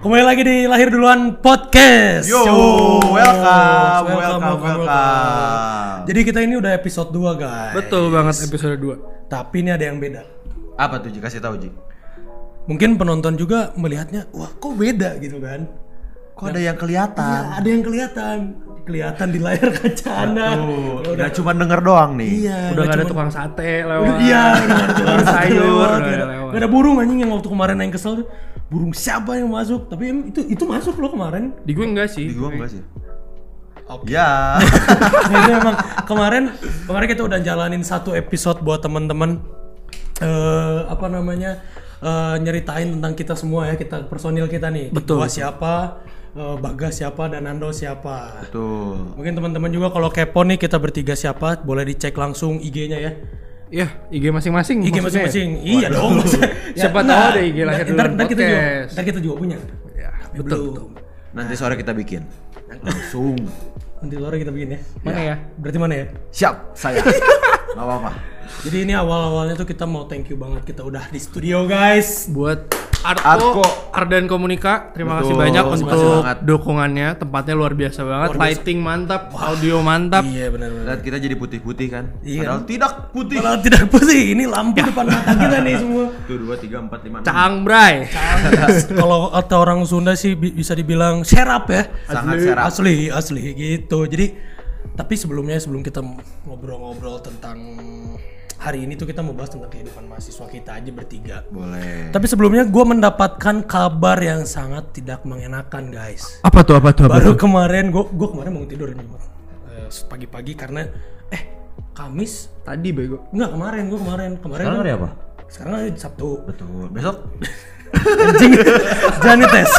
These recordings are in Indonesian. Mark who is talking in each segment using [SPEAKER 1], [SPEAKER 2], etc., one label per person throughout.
[SPEAKER 1] Kembali lagi di Lahir Duluan Podcast.
[SPEAKER 2] Yo, welcome, welcome, welcome.
[SPEAKER 1] Jadi kita ini udah episode 2, guys.
[SPEAKER 3] Betul banget episode 2.
[SPEAKER 1] Tapi ini ada yang beda.
[SPEAKER 2] Apa tuh Ji? Kasih tahu Ji.
[SPEAKER 1] Mungkin penonton juga melihatnya, wah kok beda gitu kan.
[SPEAKER 2] Kok ada yang kelihatan?
[SPEAKER 1] Iya, Ada yang kelihatan. Kelihatan di layar kaca Anda.
[SPEAKER 2] Tuh, nggak cuma denger doang nih.
[SPEAKER 1] Iya,
[SPEAKER 3] Udah
[SPEAKER 1] nggak
[SPEAKER 3] gak ada
[SPEAKER 1] cuma-
[SPEAKER 3] tukang sate lewat.
[SPEAKER 1] Iya, udah nggak ada
[SPEAKER 3] tukang sayur
[SPEAKER 1] lewat,
[SPEAKER 3] udah
[SPEAKER 1] nggak ada-
[SPEAKER 3] lewat.
[SPEAKER 1] nggak ada burung anjing yang waktu kemarin yang kesel tuh. Burung siapa yang masuk? Tapi em, itu itu masuk loh kemarin.
[SPEAKER 3] Di gue enggak sih.
[SPEAKER 2] Di gua enggak sih.
[SPEAKER 1] Oke.
[SPEAKER 2] Ya.
[SPEAKER 1] Nah, itu emang kemarin kemarin kita udah jalanin satu episode buat teman-teman eh apa namanya eh, nyeritain tentang kita semua ya kita personil kita nih.
[SPEAKER 3] Betul.
[SPEAKER 1] Gua siapa, eh, Bagas siapa dan Nando siapa.
[SPEAKER 2] Tuh.
[SPEAKER 1] Mungkin teman-teman juga kalau kepo nih kita bertiga siapa boleh dicek langsung IG-nya ya.
[SPEAKER 3] Iya, IG masing-masing.
[SPEAKER 1] IG
[SPEAKER 3] maksudnya.
[SPEAKER 1] masing-masing. Iya dong. maksudnya.
[SPEAKER 3] Siapa
[SPEAKER 1] nah,
[SPEAKER 3] tahu ada IG lahir
[SPEAKER 1] ntar-
[SPEAKER 3] duluan
[SPEAKER 1] ntar kita juga,
[SPEAKER 3] podcast.
[SPEAKER 1] ntar kita juga punya.
[SPEAKER 3] Ya,
[SPEAKER 1] Tapi
[SPEAKER 3] betul.
[SPEAKER 1] belum.
[SPEAKER 3] betul.
[SPEAKER 2] Nanti sore kita bikin. Langsung.
[SPEAKER 1] Nanti sore kita bikin ya.
[SPEAKER 3] Mana ya?
[SPEAKER 1] Berarti mana ya?
[SPEAKER 2] Siap, saya. Gak apa-apa.
[SPEAKER 1] Jadi ini awal-awalnya tuh kita mau thank you banget kita udah di studio guys.
[SPEAKER 3] Buat Arko,
[SPEAKER 2] Arko.
[SPEAKER 3] Ardan Komunika, terima kasih
[SPEAKER 2] Betul,
[SPEAKER 3] banyak
[SPEAKER 2] terima kasih
[SPEAKER 3] untuk
[SPEAKER 2] banget.
[SPEAKER 3] dukungannya. Tempatnya luar biasa banget, lighting mantap, audio mantap.
[SPEAKER 1] Iya benar-benar.
[SPEAKER 2] Lihat kita jadi putih-putih kan?
[SPEAKER 1] Iya.
[SPEAKER 2] Padahal tidak putih.
[SPEAKER 1] Kalau tidak pusing ini
[SPEAKER 2] Ya.
[SPEAKER 1] lampu depan mata kita nih semua.
[SPEAKER 2] Tuh 2 3 4 5 6.
[SPEAKER 3] Caang Bray.
[SPEAKER 1] Kalau kata orang Sunda sih bi- bisa dibilang serap ya.
[SPEAKER 2] Sangat serap.
[SPEAKER 1] Asli, asli gitu. Jadi tapi sebelumnya sebelum kita ngobrol-ngobrol tentang hari ini tuh kita mau bahas tentang kehidupan mahasiswa kita aja bertiga.
[SPEAKER 2] Boleh.
[SPEAKER 1] Tapi sebelumnya gue mendapatkan kabar yang sangat tidak mengenakan guys.
[SPEAKER 3] Apa tuh apa tuh?
[SPEAKER 1] baru kemarin gue gue kemarin mau tidur nih Bang. Eh, pagi-pagi karena eh Kamis
[SPEAKER 3] Tadi bego.
[SPEAKER 1] nggak kemarin gue kemarin kemarin kan-
[SPEAKER 3] ya?
[SPEAKER 2] apa?
[SPEAKER 1] sekarang hari Sabtu
[SPEAKER 2] Betul. Besok
[SPEAKER 1] anjing jangan dites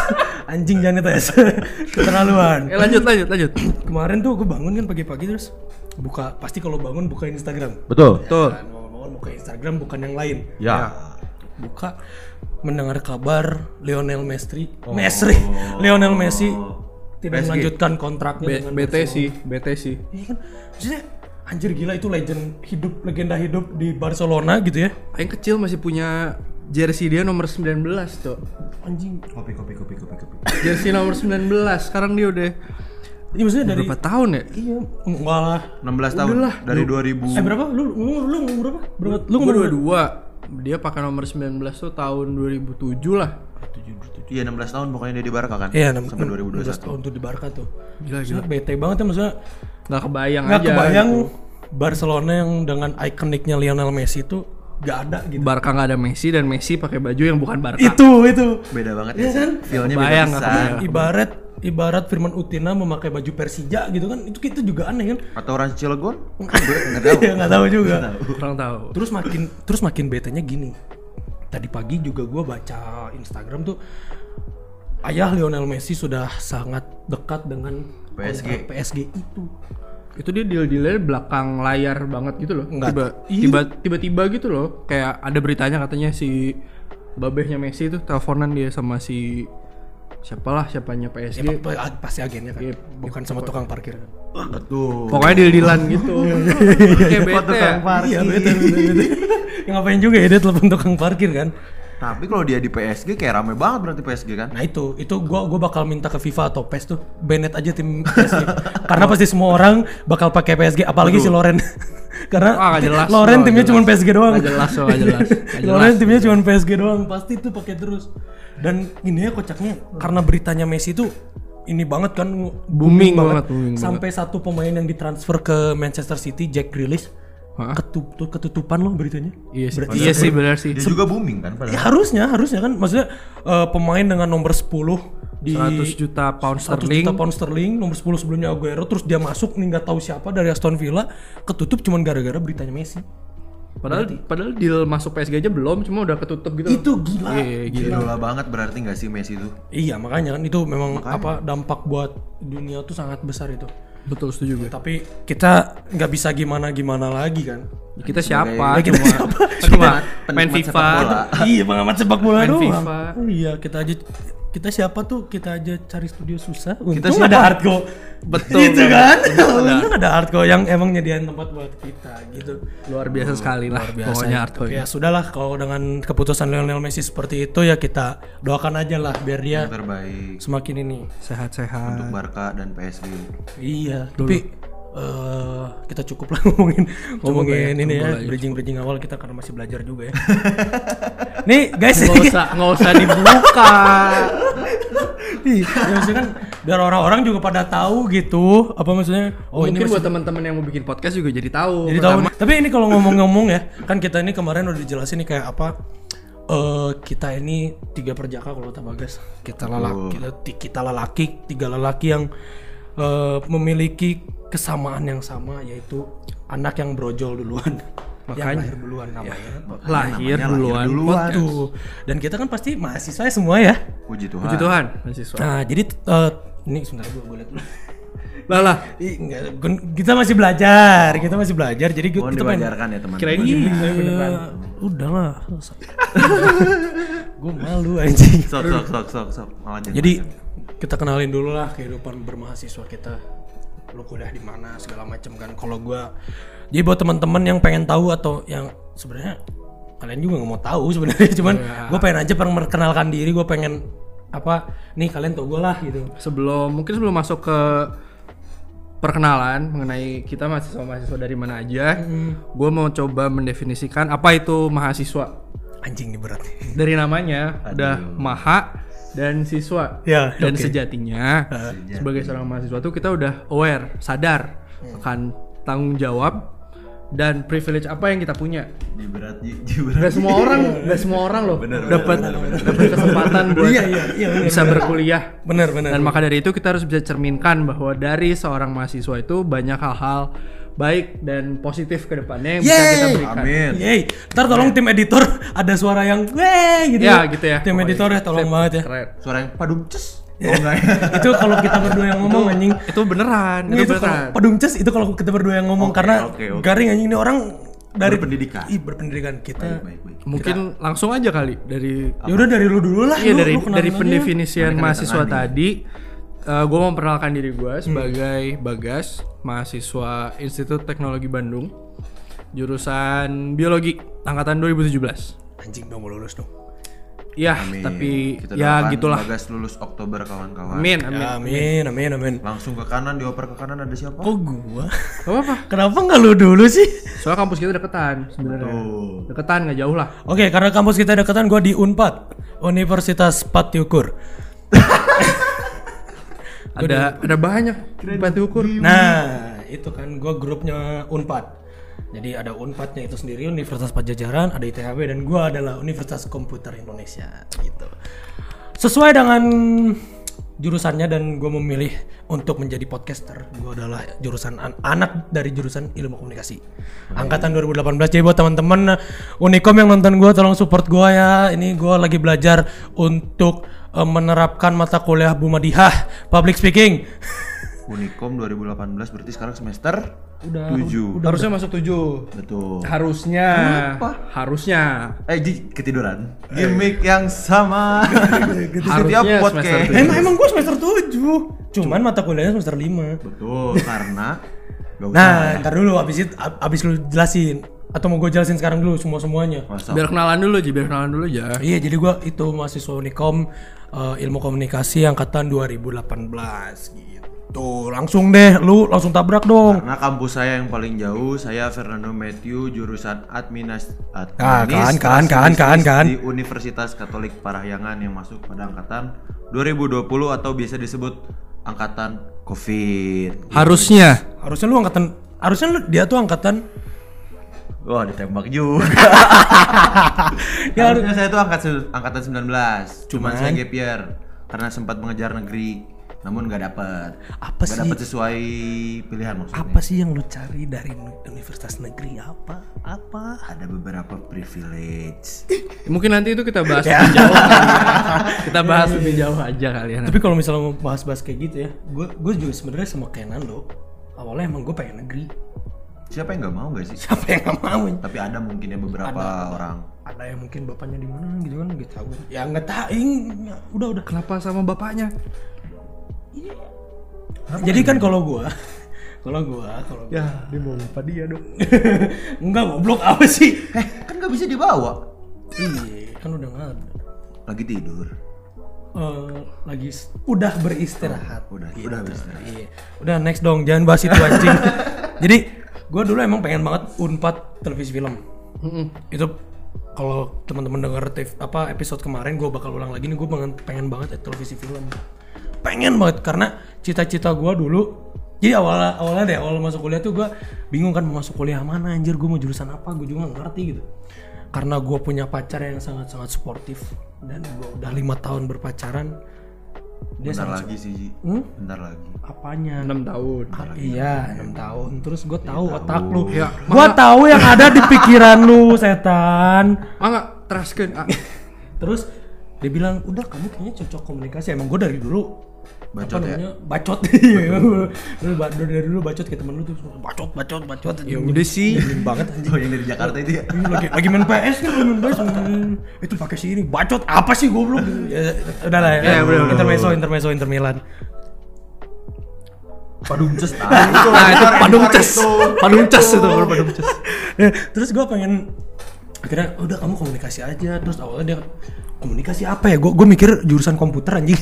[SPEAKER 1] anjing jangan dites keterlaluan
[SPEAKER 3] Eh lanjut lanjut lanjut.
[SPEAKER 1] kemarin tuh gue bangun kan pagi-pagi terus buka pasti kalau bangun buka Instagram
[SPEAKER 2] Betul.
[SPEAKER 3] Betul.
[SPEAKER 1] Kan, bangun-bangun buka Instagram bukan yang lain
[SPEAKER 2] Ya.
[SPEAKER 1] buka mendengar kabar Lionel Messi
[SPEAKER 3] Oh.
[SPEAKER 1] Messi Lionel Messi tidak
[SPEAKER 2] PSG.
[SPEAKER 1] melanjutkan kontraknya
[SPEAKER 3] B-
[SPEAKER 1] dengan
[SPEAKER 3] BT sih, BT sih.
[SPEAKER 1] Iya kan, maksudnya anjir gila itu legend hidup, legenda hidup di Barcelona gitu ya.
[SPEAKER 3] Yang kecil masih punya jersey dia nomor 19, Cok.
[SPEAKER 1] Anjing.
[SPEAKER 2] Kopi kopi kopi kopi kopi.
[SPEAKER 3] Jersey nomor 19. Sekarang dia udah
[SPEAKER 1] Ini Iya, maksudnya dari
[SPEAKER 3] berapa tahun ya?
[SPEAKER 1] iya, enggak lah.
[SPEAKER 2] 16 tahun
[SPEAKER 3] Udahlah.
[SPEAKER 2] dari 2000.
[SPEAKER 1] Eh berapa? Lu lu lu umur berapa? Berapa? Lu
[SPEAKER 3] Gue
[SPEAKER 1] umur berapa?
[SPEAKER 3] 22 Dia pakai nomor 19 tuh tahun 2007 lah
[SPEAKER 2] Iya 16 tahun pokoknya dia di Barca kan?
[SPEAKER 1] Iya, enam-
[SPEAKER 2] sampai
[SPEAKER 1] 16
[SPEAKER 2] 2021.
[SPEAKER 1] tahun tuh di Barca tuh.
[SPEAKER 3] Gila
[SPEAKER 1] Maksudnya bete banget ya maksudnya
[SPEAKER 3] Gak kebayang
[SPEAKER 1] nggak
[SPEAKER 3] aja
[SPEAKER 1] kebayang Barcelona yang dengan ikoniknya Lionel Messi itu nggak ada gitu.
[SPEAKER 3] Barca gak ada Messi dan Messi pakai baju yang bukan Barca
[SPEAKER 1] Itu itu.
[SPEAKER 2] Beda banget
[SPEAKER 1] Iya
[SPEAKER 2] ya.
[SPEAKER 1] kan? ya.
[SPEAKER 2] Feelnya beda
[SPEAKER 3] Kebayang,
[SPEAKER 2] pisan.
[SPEAKER 3] kebayang.
[SPEAKER 1] Ibarat ibarat Firman Utina memakai baju Persija gitu kan itu kita juga aneh kan.
[SPEAKER 2] Atau orang Cilegon? Enggak tahu.
[SPEAKER 1] Ya nggak tahu juga.
[SPEAKER 3] Kurang tahu.
[SPEAKER 1] terus makin terus makin betanya gini tadi pagi juga gue baca Instagram tuh ayah Lionel Messi sudah sangat dekat dengan
[SPEAKER 2] PSG.
[SPEAKER 1] kontrak PSG itu
[SPEAKER 3] Itu dia deal-dealnya belakang layar banget gitu loh
[SPEAKER 1] Nggak.
[SPEAKER 3] Tiba,
[SPEAKER 1] Iya.
[SPEAKER 3] tiba, tiba-tiba gitu loh Kayak ada beritanya katanya si Babehnya Messi itu teleponan dia sama si Siapalah siapanya PSG
[SPEAKER 1] ya, pa- pa- pasti agennya kan
[SPEAKER 3] Iya,
[SPEAKER 1] bukan sama tukang parkir kan
[SPEAKER 2] Betul.
[SPEAKER 3] Pokoknya deal-dealan gitu Kayak bete ya.
[SPEAKER 1] iya betul betul, betul. Ya, ngapain juga ya dia telepon tukang parkir kan
[SPEAKER 2] Tapi kalau dia di PSG kayak rame banget berarti PSG kan?
[SPEAKER 1] nah itu itu gue gua bakal minta ke FIFA atau PES tuh Bennett aja tim PSG karena pasti semua orang bakal pakai PSG apalagi si Loren karena
[SPEAKER 3] Ah, nggak jelas.
[SPEAKER 1] Loren
[SPEAKER 3] Nggak
[SPEAKER 1] timnya
[SPEAKER 3] jelas.
[SPEAKER 1] cuma PSG doang
[SPEAKER 3] Nggak jelas, oh, nggak jelas. Nggak jelas.
[SPEAKER 1] Loren timnya cuma PSG doang pasti itu pakai terus dan ini ya kocaknya karena beritanya Messi itu ini banget kan
[SPEAKER 3] Booming banget, booming
[SPEAKER 1] sampai satu pemain yang ditransfer ke Manchester City Jack Grealish
[SPEAKER 3] Hah?
[SPEAKER 1] ketup- ketutupan loh beritanya
[SPEAKER 3] Iya sih,
[SPEAKER 1] Berarti
[SPEAKER 3] iya sih benar sih.
[SPEAKER 2] Dia juga booming kan
[SPEAKER 1] Ya,
[SPEAKER 2] padahal.
[SPEAKER 1] harusnya, harusnya kan maksudnya eh, pemain dengan nomor 10 di
[SPEAKER 3] 100 juta pound
[SPEAKER 1] 100
[SPEAKER 3] sterling.
[SPEAKER 1] juta pound sterling, nomor 10 sebelumnya Aguero, terus dia masuk nih nggak tahu siapa dari Aston Villa, ketutup cuman gara-gara beritanya Messi.
[SPEAKER 3] Padahal padahal deal masuk PSG aja belum, cuma udah ketutup gitu.
[SPEAKER 1] Itu gila.
[SPEAKER 3] Iya, iya, gitu.
[SPEAKER 2] Idola banget berarti nggak sih Messi itu?
[SPEAKER 1] Iya, makanya kan itu memang apa dampak buat dunia tuh sangat besar itu.
[SPEAKER 3] Betul setuju gue.
[SPEAKER 1] Tapi kita nggak bisa gimana-gimana lagi kan.
[SPEAKER 3] Ya, Kita
[SPEAKER 1] Ya,
[SPEAKER 3] siapa?
[SPEAKER 1] kita
[SPEAKER 3] cuma
[SPEAKER 1] siapa?
[SPEAKER 3] cuma
[SPEAKER 2] Penikmat
[SPEAKER 3] main
[SPEAKER 2] sepak
[SPEAKER 3] FIFA.
[SPEAKER 2] bola.
[SPEAKER 1] iya, pengamat sepak bola
[SPEAKER 3] Main
[SPEAKER 1] doang.
[SPEAKER 3] FIFA.
[SPEAKER 1] Iya, kita aja kita siapa tuh kita aja cari studio susah
[SPEAKER 2] Kita
[SPEAKER 1] untung
[SPEAKER 2] siapa?
[SPEAKER 1] ada hardcore
[SPEAKER 3] Betul.
[SPEAKER 1] gitu kan
[SPEAKER 3] Untung ada.
[SPEAKER 1] untung ada hardcore yang emang nyediain tempat buat kita gitu
[SPEAKER 3] luar biasa sekali lah
[SPEAKER 1] biasa
[SPEAKER 3] pokoknya
[SPEAKER 1] itu.
[SPEAKER 3] Arto
[SPEAKER 1] ya sudahlah kalau dengan keputusan Lionel Messi seperti itu ya kita doakan aja lah biar dia
[SPEAKER 2] Yang terbaik
[SPEAKER 1] semakin ini
[SPEAKER 2] untuk
[SPEAKER 3] sehat-sehat
[SPEAKER 2] Barca dan PSG.
[SPEAKER 1] iya tapi eh, kita cukup lah ngomongin ngomongin ini ya bridging bridging awal kita karena masih belajar juga ya nih guys
[SPEAKER 3] nggak usah nggak usah dibuka
[SPEAKER 1] Iya, ya maksudnya kan biar orang-orang juga pada tahu gitu. Apa maksudnya? Oh, ini
[SPEAKER 3] mungkin
[SPEAKER 1] masih-
[SPEAKER 3] buat teman-teman yang mau bikin podcast juga jadi tahu
[SPEAKER 1] jadi tahu. nih. Tapi ini kalau ngomong-ngomong ya, kan kita ini kemarin udah dijelasin nih kayak apa eh kita ini tiga perjaka kalau kata Bagas. Kita lelaki, kita, kita lelaki, tiga lelaki yang eh, memiliki kesamaan yang sama yaitu anak yang brojol duluan. Yang
[SPEAKER 3] Makanya. Iya.
[SPEAKER 1] lahir duluan namanya.
[SPEAKER 3] lahir
[SPEAKER 2] Namanya lahir
[SPEAKER 3] duluan
[SPEAKER 2] duluan.
[SPEAKER 1] Tuh. Dan kita kan pasti mahasiswa ya semua ya.
[SPEAKER 2] Puji Tuhan.
[SPEAKER 3] puji Tuhan mahasiswa
[SPEAKER 1] Nah, jadi eh, ini sebentar gue gue liat dulu.
[SPEAKER 3] lah lah
[SPEAKER 1] Ih, enggak, gun- kita masih belajar, kita masih belajar. Jadi gu-
[SPEAKER 2] Mohon
[SPEAKER 1] kita pengen
[SPEAKER 2] diwajarkan ya teman.
[SPEAKER 3] kirain
[SPEAKER 1] Iya,
[SPEAKER 3] gini beneran
[SPEAKER 1] udahlah. gue malu anjing.
[SPEAKER 2] Sok sok sok sok sok. Lanjut,
[SPEAKER 1] Jadi
[SPEAKER 2] lanjut.
[SPEAKER 1] kita kenalin dulu lah kehidupan bermahasiswa kita. Lu kuliah di mana segala macam kan. Kalau gua jadi buat teman-teman yang pengen tahu atau yang sebenarnya kalian juga nggak mau tahu sebenarnya cuman gue pengen aja pengen memperkenalkan diri gue pengen apa nih kalian tau gue lah gitu
[SPEAKER 3] sebelum mungkin sebelum masuk ke perkenalan mengenai kita mahasiswa mahasiswa dari mana aja
[SPEAKER 1] Mm-hmm.
[SPEAKER 3] gue mau coba mendefinisikan apa itu mahasiswa
[SPEAKER 1] anjing nih berat
[SPEAKER 3] dari namanya udah maha dan siswa
[SPEAKER 1] Ya,
[SPEAKER 3] dan
[SPEAKER 1] oke. Ah.
[SPEAKER 3] sejatinya sebagai seorang mahasiswa tuh kita udah aware sadar
[SPEAKER 1] Hmm.
[SPEAKER 3] akan tanggung jawab dan privilege apa yang kita punya
[SPEAKER 2] Di berat di, di berat.
[SPEAKER 3] Gak semua orang gak semua orang loh
[SPEAKER 2] Bener, bener,
[SPEAKER 3] dapat
[SPEAKER 2] bener, bener.
[SPEAKER 3] dapat kesempatan buat
[SPEAKER 1] Iya, iya, iya, bener,
[SPEAKER 3] bisa berkuliah
[SPEAKER 1] bener bener
[SPEAKER 3] dan maka dari itu kita harus bisa cerminkan bahwa dari seorang mahasiswa itu banyak hal-hal baik dan positif ke depannya yang bisa kita
[SPEAKER 1] Yeay!
[SPEAKER 3] berikan.
[SPEAKER 2] Amin.
[SPEAKER 1] Yeay, ntar tolong tim editor ada suara yang weh gitu.
[SPEAKER 3] Iya. Ya, gitu ya.
[SPEAKER 1] Tim
[SPEAKER 3] Pokoknya.
[SPEAKER 1] editor ya tolong
[SPEAKER 3] Sip,
[SPEAKER 1] banget ya.
[SPEAKER 3] Keren.
[SPEAKER 2] Suara yang padum ces. Oh enggak ya.
[SPEAKER 1] itu kalau kita berdua yang ngomong anjing.
[SPEAKER 3] Itu beneran, itu,
[SPEAKER 1] Iya, itu
[SPEAKER 3] beneran.
[SPEAKER 1] kalau padung ces itu kalau kita berdua yang ngomong
[SPEAKER 2] Oke,
[SPEAKER 1] karena
[SPEAKER 2] oke, oke.
[SPEAKER 1] garing anjing ini orang dari
[SPEAKER 2] Berpendidikan.
[SPEAKER 1] Ih, berpendidikan kita.
[SPEAKER 3] Eh,
[SPEAKER 2] Baik baik baik.
[SPEAKER 3] Mungkin langsung aja kali dari
[SPEAKER 1] Ya udah dari lu dulu lah.
[SPEAKER 3] Iya
[SPEAKER 1] lu-
[SPEAKER 3] dari
[SPEAKER 1] lu kenalin
[SPEAKER 3] dari
[SPEAKER 1] aja.
[SPEAKER 3] pendefinisian
[SPEAKER 2] Mereka
[SPEAKER 3] mahasiswa
[SPEAKER 2] datang
[SPEAKER 3] tadi, gue mau memperkenalkan diri gue sebagai Bagas, mahasiswa Institut Teknologi Bandung, jurusan Biologi, angkatan 2017.
[SPEAKER 1] Anjing dong mau lulus dong.
[SPEAKER 3] Iya,
[SPEAKER 2] Amin.
[SPEAKER 3] tapi
[SPEAKER 2] Kita
[SPEAKER 3] ya
[SPEAKER 2] doakan
[SPEAKER 3] gitulah.
[SPEAKER 2] Bagas lulus Oktober kawan-kawan.
[SPEAKER 3] Amin, amin.
[SPEAKER 1] Ya, Amin, amin, amin.
[SPEAKER 2] Langsung ke kanan dioper ke kanan ada siapa?
[SPEAKER 1] Kok gua?
[SPEAKER 3] Gak apa-apa.
[SPEAKER 1] Kenapa nggak lu dulu sih?
[SPEAKER 3] Soalnya kampus kita deketan sebenarnya.
[SPEAKER 2] Tuh.
[SPEAKER 3] Deketan nggak jauh lah.
[SPEAKER 1] Oke, karena kampus kita deketan, gua di Unpad, Universitas Patiukur.
[SPEAKER 3] Ada ada banyak batu ukur.
[SPEAKER 1] Nah, itu kan gue grupnya Unpad. Jadi ada Unpadnya itu sendiri Universitas Pajajaran, ada ITHB dan gue adalah Universitas Komputer Indonesia gitu. Sesuai dengan jurusannya dan gue memilih untuk menjadi podcaster. Gue adalah jurusan an- anak dari jurusan ilmu komunikasi. Angkatan 2018. Jadi buat teman-teman Unikom yang nonton gue tolong support gue ya. Ini gue lagi belajar untuk eh, menerapkan mata kuliah Bumadihah public speaking.
[SPEAKER 2] Unikom 2018 berarti sekarang semester
[SPEAKER 1] Udah,
[SPEAKER 2] 7.
[SPEAKER 3] Harusnya masuk tujuh.
[SPEAKER 2] Betul.
[SPEAKER 3] Harusnya.
[SPEAKER 2] Kenapa?
[SPEAKER 3] Harusnya.
[SPEAKER 2] Eh, Ji, ketiduran. Gimik yang sama. Setiap
[SPEAKER 3] Eh. Harusnya semester
[SPEAKER 2] podcast.
[SPEAKER 3] tujuh.
[SPEAKER 1] Emang emang gue semester 7 Cuman mata kuliahnya semester 5
[SPEAKER 2] Betul, karena gak usah.
[SPEAKER 1] Nah ntar dulu abis itu ab- abis lu jelasin Atau mau gue jelasin sekarang dulu semua-semuanya
[SPEAKER 2] Masa
[SPEAKER 3] Biar kenalan dulu aja, biar kenalan dulu ya. aja.
[SPEAKER 1] Iya jadi gue itu mahasiswa Unikom eh, Ilmu Komunikasi Angkatan 2018 gitu Langsung deh lu langsung tabrak dong
[SPEAKER 2] karena kampus saya yang paling jauh, saya Fernando Matthew, jurusan Adminas
[SPEAKER 1] Ah, kan, kan, kan, kan, kan.
[SPEAKER 2] di Universitas Katolik Parahyangan yang masuk pada angkatan 2020 atau biasa disebut angkatan COVID.
[SPEAKER 3] Harusnya.
[SPEAKER 1] Harusnya lu angkatan Harusnya lu, dia tuh angkatan
[SPEAKER 2] Wah, ditembak juga.
[SPEAKER 1] Ya,
[SPEAKER 2] Harusnya saya tuh angkatan angkatan 19. Cuman, saya gap year karena sempat mengejar negeri namun nggak dapet
[SPEAKER 1] Apa
[SPEAKER 2] Nggak
[SPEAKER 1] sih?
[SPEAKER 2] dapet sesuai pilihan maksudnya
[SPEAKER 1] Apa sih yang lu cari dari universitas negeri apa? Apa?
[SPEAKER 2] ada beberapa privilege
[SPEAKER 3] Mungkin nanti itu kita bahas lebih jauh. kali ya. Kita bahas lebih jauh aja ya, kalian.
[SPEAKER 1] Tapi kalau misalnya mau bahas-bahas kayak gitu ya, gue gue juga sebenarnya sama Kenan lo. Awalnya emang gue pengen negeri.
[SPEAKER 2] siapa yang nggak mau nggak sih
[SPEAKER 1] Siapa yang gak mau?
[SPEAKER 2] tapi ada mungkin ya beberapa orang
[SPEAKER 1] Ada ada yang mungkin bapaknya di mana gitu kan gitu tahu ya nggak tahu ing, ya, udah udah
[SPEAKER 3] Kenapa sama bapaknya?
[SPEAKER 1] jadi kan kalau gua kalau gua kalau gua
[SPEAKER 3] Ya, dia mau bapak dia dong.
[SPEAKER 1] enggak goblok apa sih
[SPEAKER 2] Eh, kan nggak bisa dibawa.
[SPEAKER 1] iya kan udah nggak ada
[SPEAKER 2] Lagi tidur.
[SPEAKER 1] Eh, lagi s- udah beristirahat
[SPEAKER 2] Udah,
[SPEAKER 1] Gitu.
[SPEAKER 2] udah beristirahat.
[SPEAKER 1] Iya. udah next dong jangan bahas itu anjing jadi gua dulu emang pengen banget unpad televisi film itu kalau teman-teman dengar TV apa episode kemarin gue bakal ulang lagi nih gue pengen pengen banget eh, televisi film pengen banget karena cita-cita gue dulu jadi awalnya awalnya deh awal masuk kuliah tuh gue bingung kan mau masuk kuliah mana anjir gue mau jurusan apa gue juga nggak ngerti gitu karena gue punya pacar yang sangat-sangat sportif dan gue udah lima tahun berpacaran dia
[SPEAKER 2] Bentar
[SPEAKER 1] sangat
[SPEAKER 2] lagi sih, Ji.
[SPEAKER 1] Hmm?
[SPEAKER 2] Bentar lagi.
[SPEAKER 1] apanya
[SPEAKER 3] 6 tahun.
[SPEAKER 1] Ah, iya, enam tahun. Terus gue tahu otak lu.
[SPEAKER 3] Ya,
[SPEAKER 1] Gue tahu yang ada di pikiran lu, setan.
[SPEAKER 3] Mangga, teraskeun. Ah.
[SPEAKER 1] Terus dia bilang, udah kamu kayaknya cocok komunikasi. Emang gue dari dulu apa
[SPEAKER 2] Bacot ya?
[SPEAKER 1] namanya, Bacot. Iya, emang gua- Lu ba- dari dulu bacot ke temen lu tuh bacot, bacot, bacot.
[SPEAKER 3] Ya udah sih.
[SPEAKER 1] Nyebelin banget anjing.
[SPEAKER 2] Oh, yang dari Jakarta itu ya.
[SPEAKER 1] Ini lagi, lagi main PS nih, lagi main PS. Hmm, Itu pakai si ini bacot apa sih goblok? Ya, udah lah ya.
[SPEAKER 3] Ya, udah, udah.
[SPEAKER 1] intermezzo, intermezzo, Inter Milan.
[SPEAKER 2] Padung ces nah, itu,
[SPEAKER 3] Nah, itu
[SPEAKER 2] editor,
[SPEAKER 3] padung
[SPEAKER 2] editor
[SPEAKER 3] cas. Padung cas itu baru padung cas.
[SPEAKER 1] Ya, terus gue pengen akhirnya udah kamu komunikasi aja terus awalnya dia komunikasi apa ya gue gue mikir jurusan komputer anjing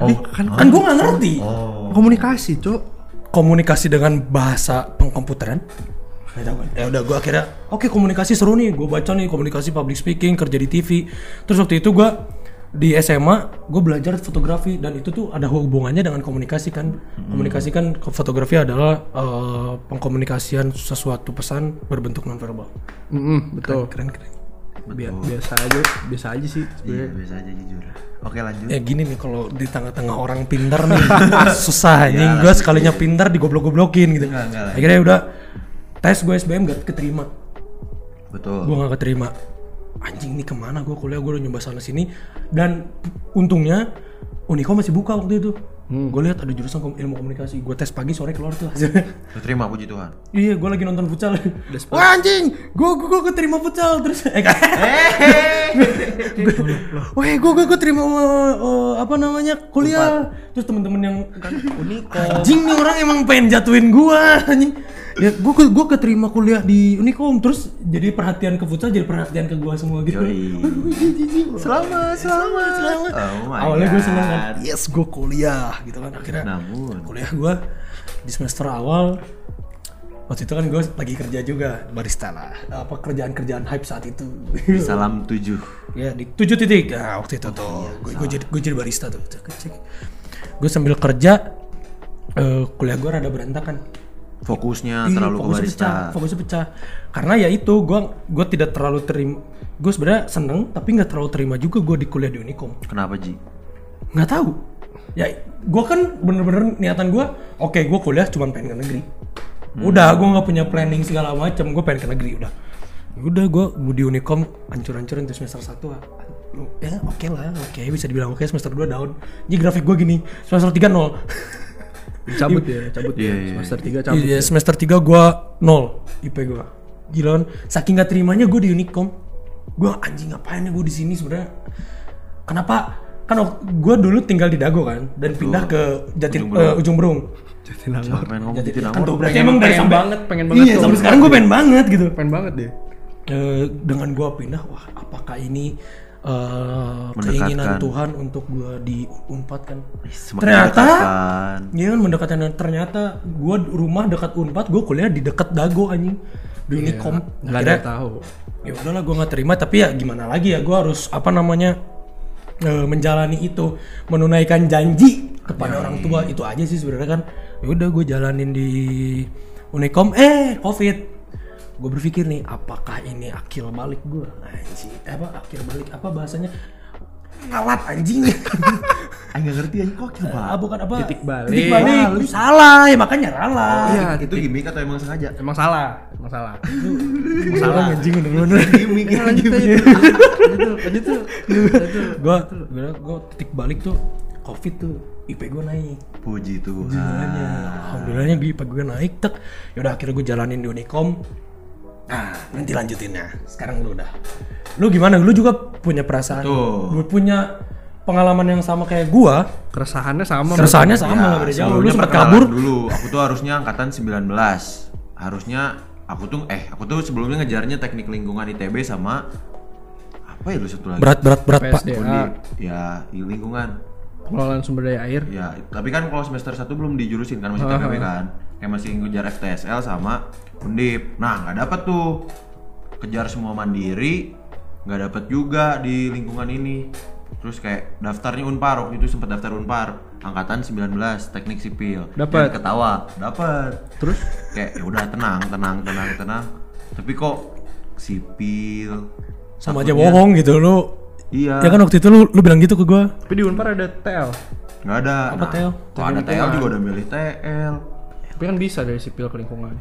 [SPEAKER 3] Oh, kan
[SPEAKER 1] kan gue nggak ngerti
[SPEAKER 2] Oh,
[SPEAKER 3] komunikasi, Cok.
[SPEAKER 1] komunikasi dengan bahasa pengkomputeran Nggak tahu kan. ya udah gue akhirnya oke komunikasi seru nih gue baca nih komunikasi public speaking kerja di TV terus waktu itu gue di SMA gue belajar fotografi dan itu tuh ada hubungannya dengan komunikasi kan komunikasi kan ke- fotografi adalah eh, pengkomunikasian sesuatu pesan berbentuk nonverbal
[SPEAKER 3] Heeh, betul.
[SPEAKER 1] keren keren
[SPEAKER 3] Bi- Biasa aja, biasa aja sih
[SPEAKER 2] Iya,
[SPEAKER 3] sebenarnya.
[SPEAKER 2] biasa aja jujur. Oke, lanjut.
[SPEAKER 1] ya gini nih kalau di tengah-tengah orang pintar nih susah anjing gue sekalinya pintar digoblok-goblokin gitu
[SPEAKER 2] Enggak, enggak lah.
[SPEAKER 1] akhirnya udah tes gue SBM gak keterima
[SPEAKER 2] Betul.
[SPEAKER 1] gue gak keterima anjing nih kemana gue kuliah gue udah nyoba sana sini dan untungnya Uniko masih buka waktu itu gue lihat ada jurusan kom- ilmu komunikasi gue tes pagi sore keluar tuh hasilnya.
[SPEAKER 2] Lu terima puji Tuhan.
[SPEAKER 1] iya gue lagi nonton futsal wah anjing gue gue gue keterima futsal terus eh
[SPEAKER 2] Eh.
[SPEAKER 1] Weh, gue gue terima eh, eh, apa namanya kuliah. Terus temen-temen yang
[SPEAKER 2] Kan
[SPEAKER 1] Uniko. Anjing nih orang emang pengen jatuhin gua anjing. Ya gue gue keterima kuliah di Unikom terus jadi perhatian ke futsal jadi perhatian ke gua semua gitu.
[SPEAKER 2] Yoi.
[SPEAKER 1] Selamat, selamat, selamat.
[SPEAKER 2] Oh my
[SPEAKER 1] Awalnya gue seneng kan.
[SPEAKER 2] God. Nah,
[SPEAKER 1] Yes, gue kuliah gitu kan akhirnya.
[SPEAKER 2] Namun,
[SPEAKER 1] Kuliah gua di semester awal waktu itu kan gue lagi kerja juga barista lah apa kerjaan-kerjaan hype saat itu
[SPEAKER 2] salam tujuh.
[SPEAKER 1] ya di tujuh titik nah, waktu itu tuh gue jadi gue jadi barista tuh cek cek gue sambil kerja eh, kuliah gue rada berantakan
[SPEAKER 2] Fokusnya
[SPEAKER 1] Ih,
[SPEAKER 2] terlalu ke
[SPEAKER 1] fokusnya
[SPEAKER 2] barista.
[SPEAKER 1] pecah fokusnya pecah karena ya itu gue gue tidak terlalu terima gue sebenarnya seneng tapi nggak terlalu terima juga gue di kuliah di Unicom
[SPEAKER 2] Kenapa, Ji?
[SPEAKER 1] nggak tahu ya gue kan bener-bener niatan gue oke gue kuliah cuma pengen ke negeri udah gue nggak punya planning segala macam gue pengen ke negeri udah udah gue di Unicom hancur-hancurin tuh semester 1 ya oke lah oke bisa dibilang oke semester 2 down jadi grafik gue gini semester 3 nol
[SPEAKER 3] Cabut ya, cabut
[SPEAKER 2] Iya,
[SPEAKER 3] ya.
[SPEAKER 2] iya.
[SPEAKER 3] Semester 3 cabut.
[SPEAKER 1] Iya, semester 3 gue nol IP gue gila kan saking gak terimanya gue di Unicom gue anjing ngapain ya gue di sini sebenarnya kenapa kan gue dulu tinggal di Dago kan dan pindah ke Jatin
[SPEAKER 2] Ujung Berung.
[SPEAKER 1] eh, ujung Berung
[SPEAKER 2] Siapa pengen ngomong gitu
[SPEAKER 1] kan
[SPEAKER 2] namun?
[SPEAKER 1] dobraknya
[SPEAKER 3] Pengen-
[SPEAKER 1] emang dari
[SPEAKER 3] pengen
[SPEAKER 1] sampai-
[SPEAKER 3] banget, pengen banget
[SPEAKER 1] iya
[SPEAKER 3] tuh.
[SPEAKER 1] sampai sekarang gue pengen banget gitu
[SPEAKER 3] Pengen banget deh.
[SPEAKER 1] Eh, dengan gue pindah wah apakah ini eh, keinginan
[SPEAKER 2] Mendekatkan.
[SPEAKER 1] Tuhan untuk gue di Unpad kan
[SPEAKER 2] Semakin
[SPEAKER 1] ternyata
[SPEAKER 2] didekatkan.
[SPEAKER 1] Iya kan mendekatkan dan ternyata gue rumah dekat Unpad gue kuliah di dekat Dago anjing di Unicom
[SPEAKER 3] Enggak Iya, ada
[SPEAKER 1] Akhirnya,
[SPEAKER 3] yang tahu.
[SPEAKER 1] ya udahlah gue nggak terima tapi ya gimana lagi ya gue harus apa namanya eh, menjalani itu menunaikan janji kepada orang tua itu aja sih sebenarnya kan ya udah gue jalanin di Unicom eh covid gue berpikir nih apakah ini akil balik gue anjing Eh, apa akil balik apa bahasanya ngalat anjing
[SPEAKER 2] Ah, nggak ngerti aja kok coba.
[SPEAKER 1] ah bukan apa
[SPEAKER 3] Titik balik.
[SPEAKER 1] titik balik Lu salah ya makanya ralah
[SPEAKER 3] Iya,
[SPEAKER 2] itu gimmick atau emang sengaja?
[SPEAKER 3] emang salah, emang salah.
[SPEAKER 1] salah anjing bener-bener
[SPEAKER 2] gimmick
[SPEAKER 3] Iya,
[SPEAKER 2] ya, gimmick.
[SPEAKER 3] Lanjut tuh.
[SPEAKER 1] gue gue titik balik tuh covid tuh IP gue naik
[SPEAKER 2] Puji
[SPEAKER 1] Ah.
[SPEAKER 2] Tuhan.
[SPEAKER 1] Ya Alhamdulillahnya, alhamdulillahnya gue IPA gue naik tek. Yaudah akhirnya gue jalanin di Unicom. Nah, nanti lanjutin ya. Sekarang lu udah. Lu gimana? Lu juga punya perasaan.
[SPEAKER 2] Betul.
[SPEAKER 1] Lu punya pengalaman yang sama kayak gua.
[SPEAKER 3] Keresahannya sama.
[SPEAKER 1] Keresahannya sama nggak beda jauh. Lu
[SPEAKER 2] Ya, Iya, sebelumnya
[SPEAKER 1] sempat
[SPEAKER 2] perkenalan
[SPEAKER 1] kabur.
[SPEAKER 2] dulu aku tuh harusnya angkatan 19 harusnya aku tuh eh aku tuh sebelumnya ngejarnya teknik lingkungan ITB sama apa ya lu satu lagi
[SPEAKER 1] Berat berat berat, Pak.
[SPEAKER 3] PSD.
[SPEAKER 2] Undi. ya di lingkungan
[SPEAKER 3] Pengelolaan sumber daya air.
[SPEAKER 2] ya tapi kan kalau semester 1 belum dijurusin kan masih TPB kan kayak masih ngejar FTSL sama undip nah nggak dapet tuh kejar semua mandiri nggak dapet juga di lingkungan ini terus kayak daftarnya unpar waktu itu sempet daftar unpar angkatan 19 teknik sipil
[SPEAKER 3] Dapet.
[SPEAKER 2] Dan ketawa dapet
[SPEAKER 3] Terus
[SPEAKER 2] kayak ya udah tenang tenang tenang tenang tapi kok sipil
[SPEAKER 1] Sama aja bohong gitu lu.
[SPEAKER 2] iya
[SPEAKER 1] Ya kan waktu itu lu lu bilang gitu ke gua.
[SPEAKER 3] tapi di Unpar ada TL.
[SPEAKER 2] nggak ada
[SPEAKER 1] Apa TL?
[SPEAKER 2] kalau ada TL juga udah milih TL
[SPEAKER 3] Tapi kan bisa dari sipil ke lingkungan.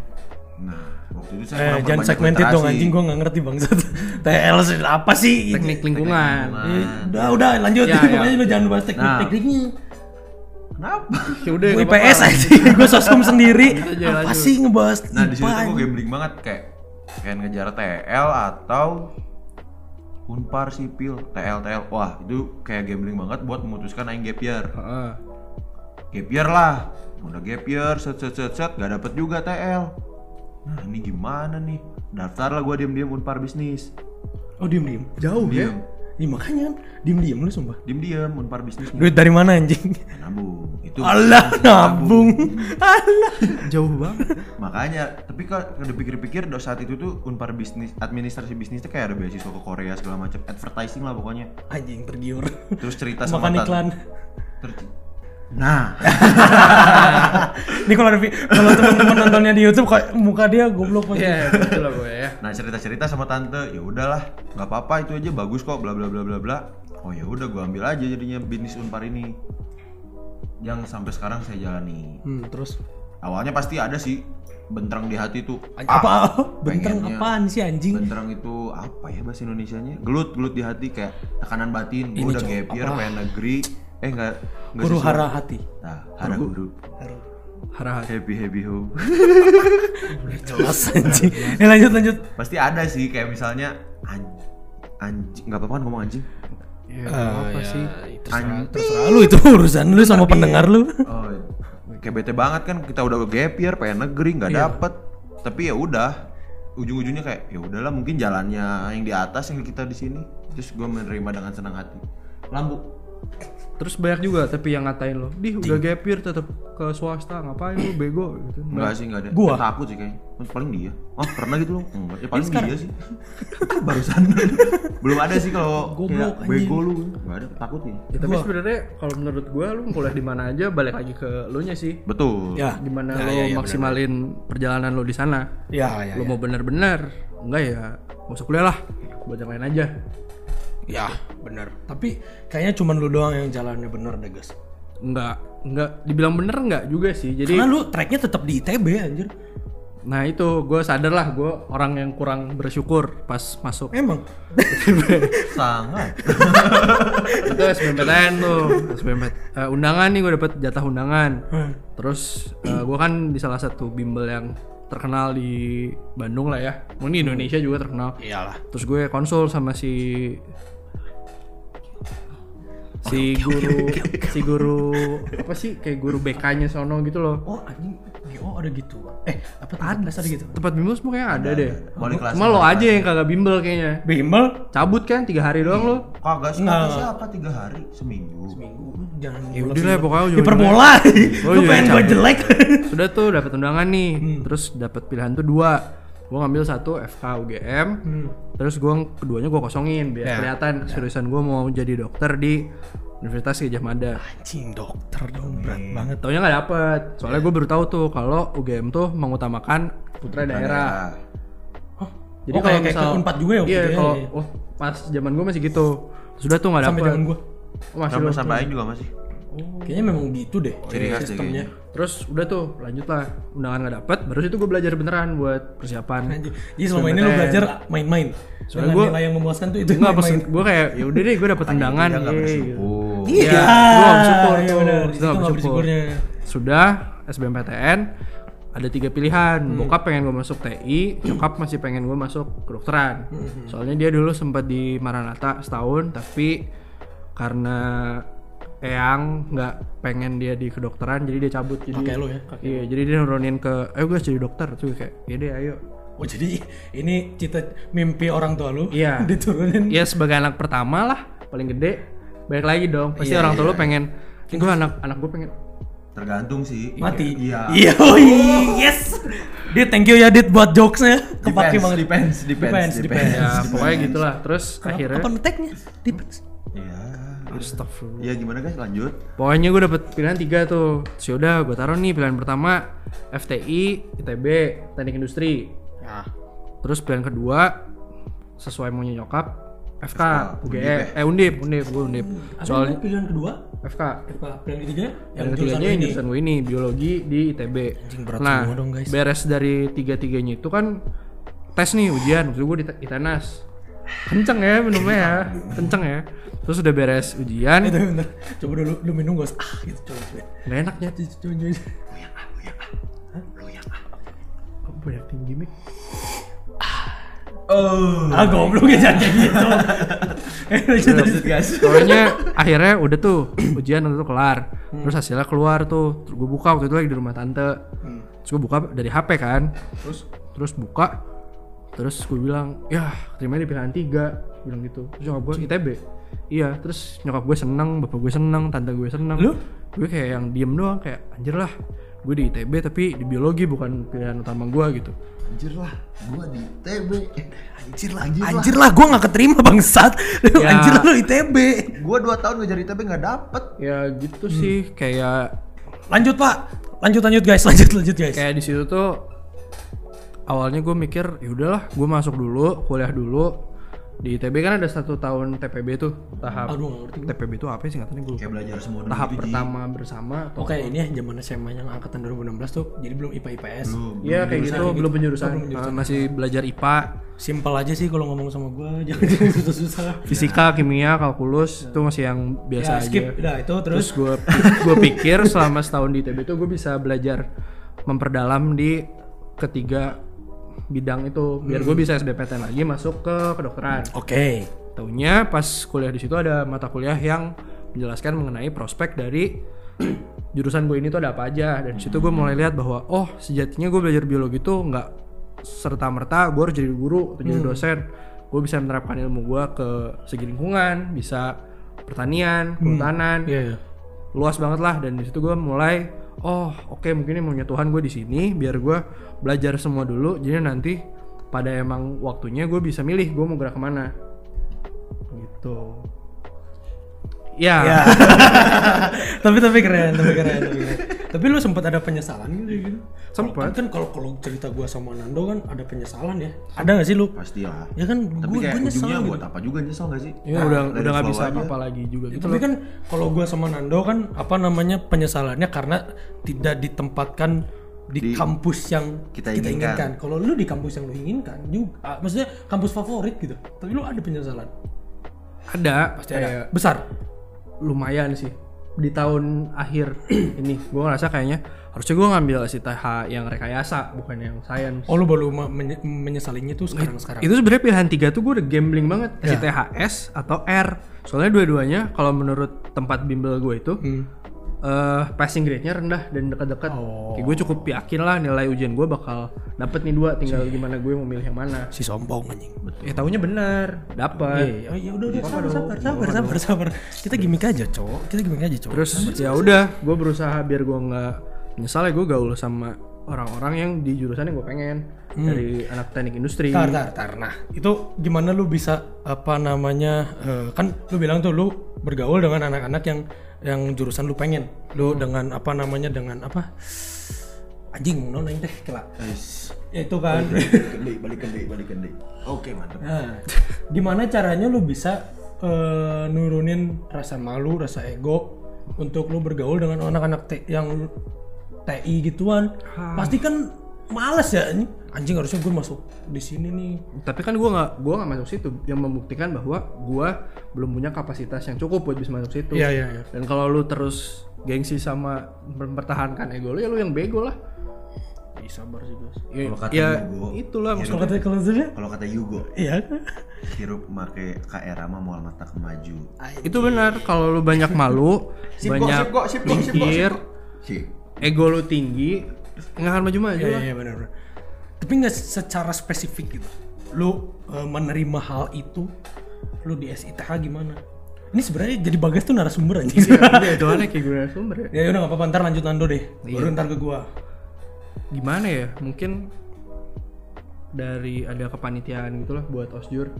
[SPEAKER 2] Nah, waktu itu
[SPEAKER 1] Eh, jangan
[SPEAKER 2] saya kurang perbanyak
[SPEAKER 1] segmented dong
[SPEAKER 2] literasi.
[SPEAKER 1] anjing gua nggak ngerti bangsat. TL sih, apa sih? gitu.
[SPEAKER 3] Iya, Teknik lingkungan.
[SPEAKER 2] Nah,
[SPEAKER 1] Udah, udah lanjut.
[SPEAKER 3] Ya, ya.
[SPEAKER 1] Pokoknya lu jangan bahas teknik-tekniknya.
[SPEAKER 2] kenapa?
[SPEAKER 3] Ya udah.
[SPEAKER 1] Gua
[SPEAKER 3] nggak
[SPEAKER 1] IPS
[SPEAKER 3] apa-apa.
[SPEAKER 1] aja, gua soskum sendiri.
[SPEAKER 3] aja,
[SPEAKER 1] Apa
[SPEAKER 3] lanjut.
[SPEAKER 1] sih ngebahas?
[SPEAKER 2] Nah, di situ
[SPEAKER 1] IPA,
[SPEAKER 2] tuh gue gambling banget kayak kayak ngejar TL atau Unpar sipil TL TL. Wah, itu kayak gambling banget buat memutuskan aing gap year.
[SPEAKER 3] Heeh.
[SPEAKER 2] Gap year lah. Udah gap year, set set set set gak dapet juga TL. Nah, ini gimana nih? Daftar lah gue diem-diem Unpar bisnis.
[SPEAKER 1] Oh diem diem. Jauh
[SPEAKER 2] Diem.
[SPEAKER 1] Iya makanya kan diem diem lu sumpah.
[SPEAKER 2] Diem-diem Unpar bisnis. Nah,
[SPEAKER 1] Duit dari mana anjing?
[SPEAKER 2] Nabung. Itu
[SPEAKER 1] Allah nabung. Allah.
[SPEAKER 3] Jauh banget.
[SPEAKER 2] Makanya, tapi kalau kalau dipikir-pikir do- saat itu tuh Unpar bisnis administrasi bisnisnya kayak ada beasiswa ke Korea segala macam, advertising lah pokoknya.
[SPEAKER 1] Anjing tergiur.
[SPEAKER 2] Terus cerita sama
[SPEAKER 1] Makan
[SPEAKER 2] Tan-
[SPEAKER 1] iklan.
[SPEAKER 2] ter- Nah,
[SPEAKER 1] Ini kalau ada vi- kalau teman-teman nontonnya di YouTube kok muka dia goblok banget.
[SPEAKER 3] Iya, betul lah gue ya.
[SPEAKER 2] nah cerita-cerita sama tante, ya udahlah, nggak apa-apa itu aja bagus kok, bla bla bla bla bla. Oh ya udah, gua ambil aja jadinya bisnis Unpar ini. Yang sampai sekarang saya jalani.
[SPEAKER 1] Hmm, terus
[SPEAKER 2] Awalnya pasti ada sih bentrang di hati tuh.
[SPEAKER 1] apa? Benteng
[SPEAKER 2] pengennya.
[SPEAKER 1] apaan sih anjing?
[SPEAKER 2] Benterang itu apa ya bahasa Indonesianya? Gelut, gelut di hati kayak tekanan batin. Gue udah gap year, pengen negeri. Eh enggak enggak
[SPEAKER 1] Guru
[SPEAKER 2] sesuai.
[SPEAKER 1] hara hati.
[SPEAKER 2] Nah, hara guru.
[SPEAKER 3] Harah.
[SPEAKER 2] Happy happy ho.
[SPEAKER 1] Jelas anjing. Eh lanjut lanjut.
[SPEAKER 2] Pasti ada sih kayak misalnya anjing anjing nggak apa-apa kan ngomong anjing.
[SPEAKER 3] Ya, apa sih?
[SPEAKER 2] Anjing.
[SPEAKER 1] Terserah lu itu urusan lu sama pendengar lu.
[SPEAKER 2] Oh, kayak bete banget kan kita udah gap year, pengen negeri nggak
[SPEAKER 1] Iya.
[SPEAKER 2] dapet. Tapi ya udah ujung-ujungnya kayak ya udahlah mungkin jalannya yang di atas yang kita di sini terus gue menerima dengan senang hati lambuk
[SPEAKER 3] Terus banyak juga tapi yang ngatain lo, "Dih, udah gapir tetap ke swasta, ngapain lu bego?" gitu.
[SPEAKER 2] Enggak sih, enggak ada.
[SPEAKER 1] Gua?
[SPEAKER 2] Dia takut sih kayaknya. Oh, Paling dia. Oh, pernah gitu loh. Enggak, ya paling dia sih. Barusan. Belum ada sih kalau
[SPEAKER 1] Goblok,
[SPEAKER 2] kayak bego lu. Enggak ada, takut nih.
[SPEAKER 3] Ya, tapi sebenarnya kalau menurut gue lu kuliah di mana aja balik lagi ke lu nya sih.
[SPEAKER 2] Betul.
[SPEAKER 1] Ya.
[SPEAKER 3] Gimana lo maksimalin perjalanan lo di sana.
[SPEAKER 1] Ya ya.
[SPEAKER 3] Lo mau bener-bener enggak ya nggak usah kuliah lah buat yang lain aja
[SPEAKER 1] Ya,
[SPEAKER 3] Iya.
[SPEAKER 1] benar. Tapi kayaknya cuman lu doang yang jalannya bener deh, guys.
[SPEAKER 3] enggak enggak dibilang bener enggak juga sih jadi
[SPEAKER 1] Karena lu tracknya tetap di ITB anjir.
[SPEAKER 3] nah itu gue sadar lah gue orang yang kurang bersyukur pas masuk
[SPEAKER 1] Emang.
[SPEAKER 2] Sangat.
[SPEAKER 3] itu SBMPTN tuh SBMPT Eh, undangan nih gue dapet jatah undangan
[SPEAKER 1] Hmm.
[SPEAKER 3] terus gue kan di salah satu bimbel yang terkenal di Bandung lah ya mungkin di Indonesia juga terkenal
[SPEAKER 1] Iyalah.
[SPEAKER 3] terus gue konsul sama si si guru si guru apa sih kayak guru BK-nya sono gitu loh
[SPEAKER 1] Oh, anjing. Oh, ada gitu. Eh, apa ada ada gitu.
[SPEAKER 3] tempat bimbel semua kayaknya ada, deh
[SPEAKER 2] Wali kelas.
[SPEAKER 3] cuma lo aja yang kagak bimbel kayaknya
[SPEAKER 1] Bimbel
[SPEAKER 3] cabut kan tiga hari doang lo
[SPEAKER 2] Kagak sih, kagak siapa 3 hari seminggu.
[SPEAKER 1] minggu jangan
[SPEAKER 3] udah lah Ya pokoknya ujung-ujungnya.
[SPEAKER 1] hiperbola.
[SPEAKER 3] Oh,
[SPEAKER 1] lu
[SPEAKER 3] iya,
[SPEAKER 1] pengen gua jelek.
[SPEAKER 3] sudah tuh dapat undangan nih terus dapat pilihan tuh dua gue ngambil satu FK UGM terus gue keduanya gue kosongin biar kelihatan seriusan gue mau jadi dokter di Universitas Gajah Mada
[SPEAKER 1] anjing dokter dong berat banget.
[SPEAKER 3] taunya nggak dapet soalnya
[SPEAKER 1] Iya.
[SPEAKER 3] gue baru tahu tuh kalau UGM tuh mengutamakan putra daerah
[SPEAKER 2] Nah,
[SPEAKER 3] jadi
[SPEAKER 1] Oh, kayak-
[SPEAKER 3] kalau
[SPEAKER 1] kayak
[SPEAKER 3] misal
[SPEAKER 1] ke Unpad juga ya waktu
[SPEAKER 3] iya
[SPEAKER 1] itu ya,
[SPEAKER 3] kalau
[SPEAKER 1] iya.
[SPEAKER 3] oh, pas zaman gue masih gitu sudah tuh nggak
[SPEAKER 1] Sampai
[SPEAKER 3] dapet
[SPEAKER 1] zaman gua.
[SPEAKER 3] Oh, masih
[SPEAKER 2] Sampai
[SPEAKER 3] lu-
[SPEAKER 2] sampai aing juga masih.
[SPEAKER 1] Kayaknya memang gitu deh
[SPEAKER 2] Ciri khas deh
[SPEAKER 3] ya,
[SPEAKER 1] sistemnya.
[SPEAKER 3] terus udah tuh lanjut lah undangan nggak dapet baru itu gue belajar beneran buat persiapan
[SPEAKER 1] Anjing. Jadi selama ini lu belajar main-main. Soalnya
[SPEAKER 3] ya. gua-
[SPEAKER 1] nilai yang memuaskan tuh itu
[SPEAKER 3] Enggak, pas
[SPEAKER 1] main-main.
[SPEAKER 3] gue kayak ya udah deh gue dapet undangan
[SPEAKER 2] Dia nggak
[SPEAKER 3] yeay, gitu.
[SPEAKER 2] bersyukur.
[SPEAKER 1] Iya,
[SPEAKER 3] Iya, gua nggak bersyukur
[SPEAKER 1] iya
[SPEAKER 3] tuh.
[SPEAKER 1] bener.
[SPEAKER 3] Itu
[SPEAKER 1] Itu
[SPEAKER 3] nggak
[SPEAKER 1] nggak
[SPEAKER 3] bersyukur.
[SPEAKER 1] bersyukurnya.
[SPEAKER 3] sudah SBMPTN ada tiga pilihan bokap pengen gue masuk TI nyokap masih pengen gue masuk kedokteran soalnya dia dulu sempat di Maranatha setahun tapi karena Eyang nggak pengen dia di kedokteran jadi dia cabut jadi
[SPEAKER 1] Kakek lu ya, kakek
[SPEAKER 3] iya jadi dia nurunin ke ayo gue jadi dokter tuh kayak ya deh ayo
[SPEAKER 1] Oh jadi ini cita mimpi orang tua lu
[SPEAKER 3] Iya.
[SPEAKER 1] diturunin.
[SPEAKER 3] ya sebagai anak pertama lah paling gede balik lagi dong pasti orang tua lu pengen gue anak anak gue pengen
[SPEAKER 2] Tergantung sih.
[SPEAKER 1] Mati.
[SPEAKER 2] Iya.
[SPEAKER 1] Iya. oi, yes. Dit thank you ya Dit buat jokesnya.
[SPEAKER 2] Depends,
[SPEAKER 1] Kepake banget.
[SPEAKER 2] depends, depends,
[SPEAKER 1] Depends, depends.
[SPEAKER 3] ya pokoknya gitulah terus akhirnya
[SPEAKER 1] Apa ngeteknya? Depends.
[SPEAKER 2] Iya.
[SPEAKER 3] Astagfirullah.
[SPEAKER 2] Iya gimana guys lanjut?
[SPEAKER 3] Pokoknya gue dapet pilihan tiga tuh. Terus yaudah gue taruh nih pilihan pertama FTI, ITB, Teknik Industri.
[SPEAKER 1] Nah,
[SPEAKER 3] Terus pilihan kedua sesuai maunya nyokap FK,
[SPEAKER 2] Undip
[SPEAKER 1] ya?
[SPEAKER 3] UGM, eh Undip, Undip, gue Undip.
[SPEAKER 1] soal
[SPEAKER 3] Soalnya
[SPEAKER 1] pilihan kedua,
[SPEAKER 3] FK.
[SPEAKER 1] apa pilihan ketiga yang
[SPEAKER 3] Yang
[SPEAKER 1] jurusan lu
[SPEAKER 3] ketiganya yang
[SPEAKER 1] ini.
[SPEAKER 3] jurusan gue ini biologi di ITB.
[SPEAKER 1] Anjing, berat
[SPEAKER 3] nah,
[SPEAKER 1] semua dong, guys.
[SPEAKER 3] beres dari tiga-tiganya itu kan tes nih ujian. Terus gue di ITENAS. Kenceng ya minumnya ya, kenceng ya. Terus udah beres ujian,
[SPEAKER 1] Itu bentar. Coba dulu lu minum gak usah. Ah, gitu coba coba.
[SPEAKER 3] nggak enaknya tuh
[SPEAKER 1] Coba coba.
[SPEAKER 3] banyak tinggi gimmick.
[SPEAKER 2] Oh.
[SPEAKER 1] Ah, goblok ya jangan kayak gitu. Eh, lanjut, lanjut.
[SPEAKER 2] guys.
[SPEAKER 3] Pokoknya akhirnya udah tuh ujian udah tuh kelar. Terus hasilnya keluar tuh. Terus gue buka waktu itu lagi di rumah tante. Terus gue buka dari HP kan. Terus terus buka. Terus gue bilang, "Yah, terima di pilihan tiga bilang gitu. Terus nyokap gue ITB. Iya, terus nyokap gue seneng, bapak gue seneng, tante gue seneng.
[SPEAKER 1] Lu?
[SPEAKER 3] Gue kayak yang diem doang kayak anjir lah. Gue di ITB tapi di biologi bukan pilihan utama gue gitu.
[SPEAKER 2] Anjir lah, gua di TB. Anjir lah, anjir,
[SPEAKER 1] Anjir lah, gua gak keterima bangsat. Lu
[SPEAKER 3] Ya.
[SPEAKER 1] Anjir lah lu ITB.
[SPEAKER 2] Gua 2 tahun ngejar ITB nggak dapet.
[SPEAKER 3] Ya gitu sih kayak
[SPEAKER 1] Lanjut pak, lanjut lanjut guys, lanjut lanjut guys.
[SPEAKER 3] kayak di situ tuh awalnya gue mikir ya udahlah gue masuk dulu kuliah dulu di ITB kan ada satu tahun TPB tuh tahap
[SPEAKER 1] Aduh, nggak ngerti gua.
[SPEAKER 3] TPB tuh apa ya sih katanya gue
[SPEAKER 2] Kayak belajar semua dulu
[SPEAKER 3] tahap
[SPEAKER 2] gitu, Ji.
[SPEAKER 3] pertama bersama atau
[SPEAKER 1] Oke, ini ya zaman SMA yang angkatan 2016 tuh jadi belum IPA IPS.
[SPEAKER 2] Belum.
[SPEAKER 3] Iya kayak gitu belum penjurusan
[SPEAKER 1] Oh, belum Iya.
[SPEAKER 3] Nah, masih belajar IPA
[SPEAKER 1] Simpel aja sih kalau ngomong sama gua,
[SPEAKER 3] Iya.
[SPEAKER 1] jangan jangan susah-susah.
[SPEAKER 3] fisika kimia kalkulus itu masih yang biasa
[SPEAKER 1] Ya,
[SPEAKER 3] aja
[SPEAKER 1] skip. Nah, itu terus,
[SPEAKER 3] terus gue gue pikir selama setahun di ITB itu gue bisa belajar memperdalam di ketiga bidang itu biar
[SPEAKER 1] Hmm.
[SPEAKER 3] gue bisa SBPTN lagi masuk ke kedokteran
[SPEAKER 1] Oke.
[SPEAKER 3] Taunya pas kuliah di situ ada mata kuliah yang menjelaskan mengenai prospek dari jurusan gue ini tuh ada apa aja dan di situ gue mulai lihat bahwa oh sejatinya gue belajar biologi tuh nggak serta merta gue harus jadi guru atau jadi dosen gue bisa menerapkan ilmu gue ke segi lingkungan bisa pertanian kehutanan
[SPEAKER 1] Iya, iya.
[SPEAKER 3] luas banget lah dan di situ gue mulai oh oke mungkin ini maunya Tuhan gue di sini biar gue belajar semua dulu jadi nanti pada emang waktunya gue bisa milih gue mau gerak kemana gitu
[SPEAKER 1] Ya.
[SPEAKER 3] ya
[SPEAKER 1] tapi tapi keren, tapi keren, tapi keren. Tapi lu sempat ada penyesalan gitu gitu.
[SPEAKER 3] Sempet.
[SPEAKER 1] Kan kalau kalau cerita gua sama Nando kan ada penyesalan ya. Ada gak sih lu?
[SPEAKER 2] Pasti lah.
[SPEAKER 1] Ya kan gua
[SPEAKER 2] Tapi kayak
[SPEAKER 1] gua nyesel
[SPEAKER 2] ujungnya
[SPEAKER 1] gitu.
[SPEAKER 2] buat apa juga nyesel gak sih? Nah,
[SPEAKER 3] ini Ya, udah
[SPEAKER 2] Dari
[SPEAKER 3] udah nggak
[SPEAKER 2] flow
[SPEAKER 3] bisa
[SPEAKER 2] aja.
[SPEAKER 3] apa-apa lagi juga
[SPEAKER 1] Ya,
[SPEAKER 3] gitu
[SPEAKER 1] tapi kan kalau gua sama Nando kan apa namanya penyesalannya karena tidak ditempatkan di,
[SPEAKER 2] Di-
[SPEAKER 1] kampus yang
[SPEAKER 2] kita
[SPEAKER 1] kita
[SPEAKER 2] inginkan.
[SPEAKER 1] inginkan. Kalau lu di kampus yang lu inginkan juga ah, maksudnya kampus favorit gitu. Tapi lu ada penyesalan.
[SPEAKER 3] ada pasti
[SPEAKER 1] Ada. Besar.
[SPEAKER 3] lumayan sih di tahun akhir ini gue ngerasa kayaknya harusnya gue ngambil SITH yang rekayasa bukan yang sains
[SPEAKER 1] Oh lu baru ma- menye- menyesalinya tuh sekarang-sekarang.
[SPEAKER 3] Itu sebenarnya pilihan tiga tuh gue udah gambling banget
[SPEAKER 1] Ya.
[SPEAKER 3] SITHS atau R. Soalnya dua-duanya kalau menurut tempat bimbel gue itu
[SPEAKER 1] Hmm.
[SPEAKER 3] eh, passing grade-nya rendah dan dekat-dekat.
[SPEAKER 1] Oh.
[SPEAKER 3] Kayak gue cukup yakin lah nilai ujian gue bakal dapet nih dua. Tinggal gimana gue mau milih yang mana.
[SPEAKER 1] Si sombong anjing.
[SPEAKER 3] Ya tahunya bener, dapet.
[SPEAKER 1] Iya, ya udah udah sabar sabar sabar sabar sabar. Kita gimmick aja, cowok. Kita gimmick aja, cowok.
[SPEAKER 3] Terus ya udah, gue berusaha biar gue nggak menyesal ya gue gaul sama orang-orang yang di jurusan yang gue pengen
[SPEAKER 1] Hmm.
[SPEAKER 3] dari anak teknik industri.
[SPEAKER 1] Tar, tar, tar. Nah, itu gimana lu bisa apa namanya? eh, kan lu bilang tuh lu bergaul dengan anak-anak yang yang jurusan lu pengen. Lu dengan apa namanya? Dengan apa? Anjing, mau nanya deh, kelak.
[SPEAKER 2] Guys,
[SPEAKER 1] Itu kan.
[SPEAKER 2] balik kendi, balik kendi, balik kendi. Oke, mantap.
[SPEAKER 1] Nah, gimana caranya lu bisa eh, nurunin rasa malu, rasa ego untuk lu bergaul dengan anak-anak T- yang TI gituan? Pasti kan males ya anjing. Anjing harusnya gue masuk di sini nih.
[SPEAKER 3] tapi kan gue nggak gua nggak masuk situ yang membuktikan bahwa gue belum punya kapasitas yang cukup buat bisa masuk situ
[SPEAKER 1] Iya, iya, iya.
[SPEAKER 3] dan kalau lu terus gengsi sama mempertahankan ego lu ya lu yang bego lah
[SPEAKER 1] sabar sih guys
[SPEAKER 3] ya,
[SPEAKER 2] Kalau kata
[SPEAKER 3] ya
[SPEAKER 2] Hugo,
[SPEAKER 3] itulah
[SPEAKER 1] kalau
[SPEAKER 3] maksudnya
[SPEAKER 1] kata kalau saja
[SPEAKER 2] Kalau kata Yugo,
[SPEAKER 1] iya
[SPEAKER 2] hirup make KR sama mual mata kemaju.
[SPEAKER 3] itu benar kalau lu banyak malu
[SPEAKER 2] Sip, Go,
[SPEAKER 3] banyak
[SPEAKER 2] sip, Go, sip, Go, sip, Go, sip, Go.
[SPEAKER 3] mikir
[SPEAKER 2] Sih.
[SPEAKER 3] ego lu tinggi nggak akan maju-maju
[SPEAKER 1] iya
[SPEAKER 3] lah.
[SPEAKER 1] iya benar benar. tapi nggak secara spesifik gitu lu eh, menerima hal itu lu di SITH gimana ini sebenarnya jadi bagas tuh narasumber anjing
[SPEAKER 3] Iya, itu aneh kayak gue sumber ya.
[SPEAKER 1] ya udah nggak apa-apa ntar lanjut Nando deh baru ntar ke gua
[SPEAKER 3] Gimana ya? Mungkin dari ada kepanitiaan gitu lah buat osjur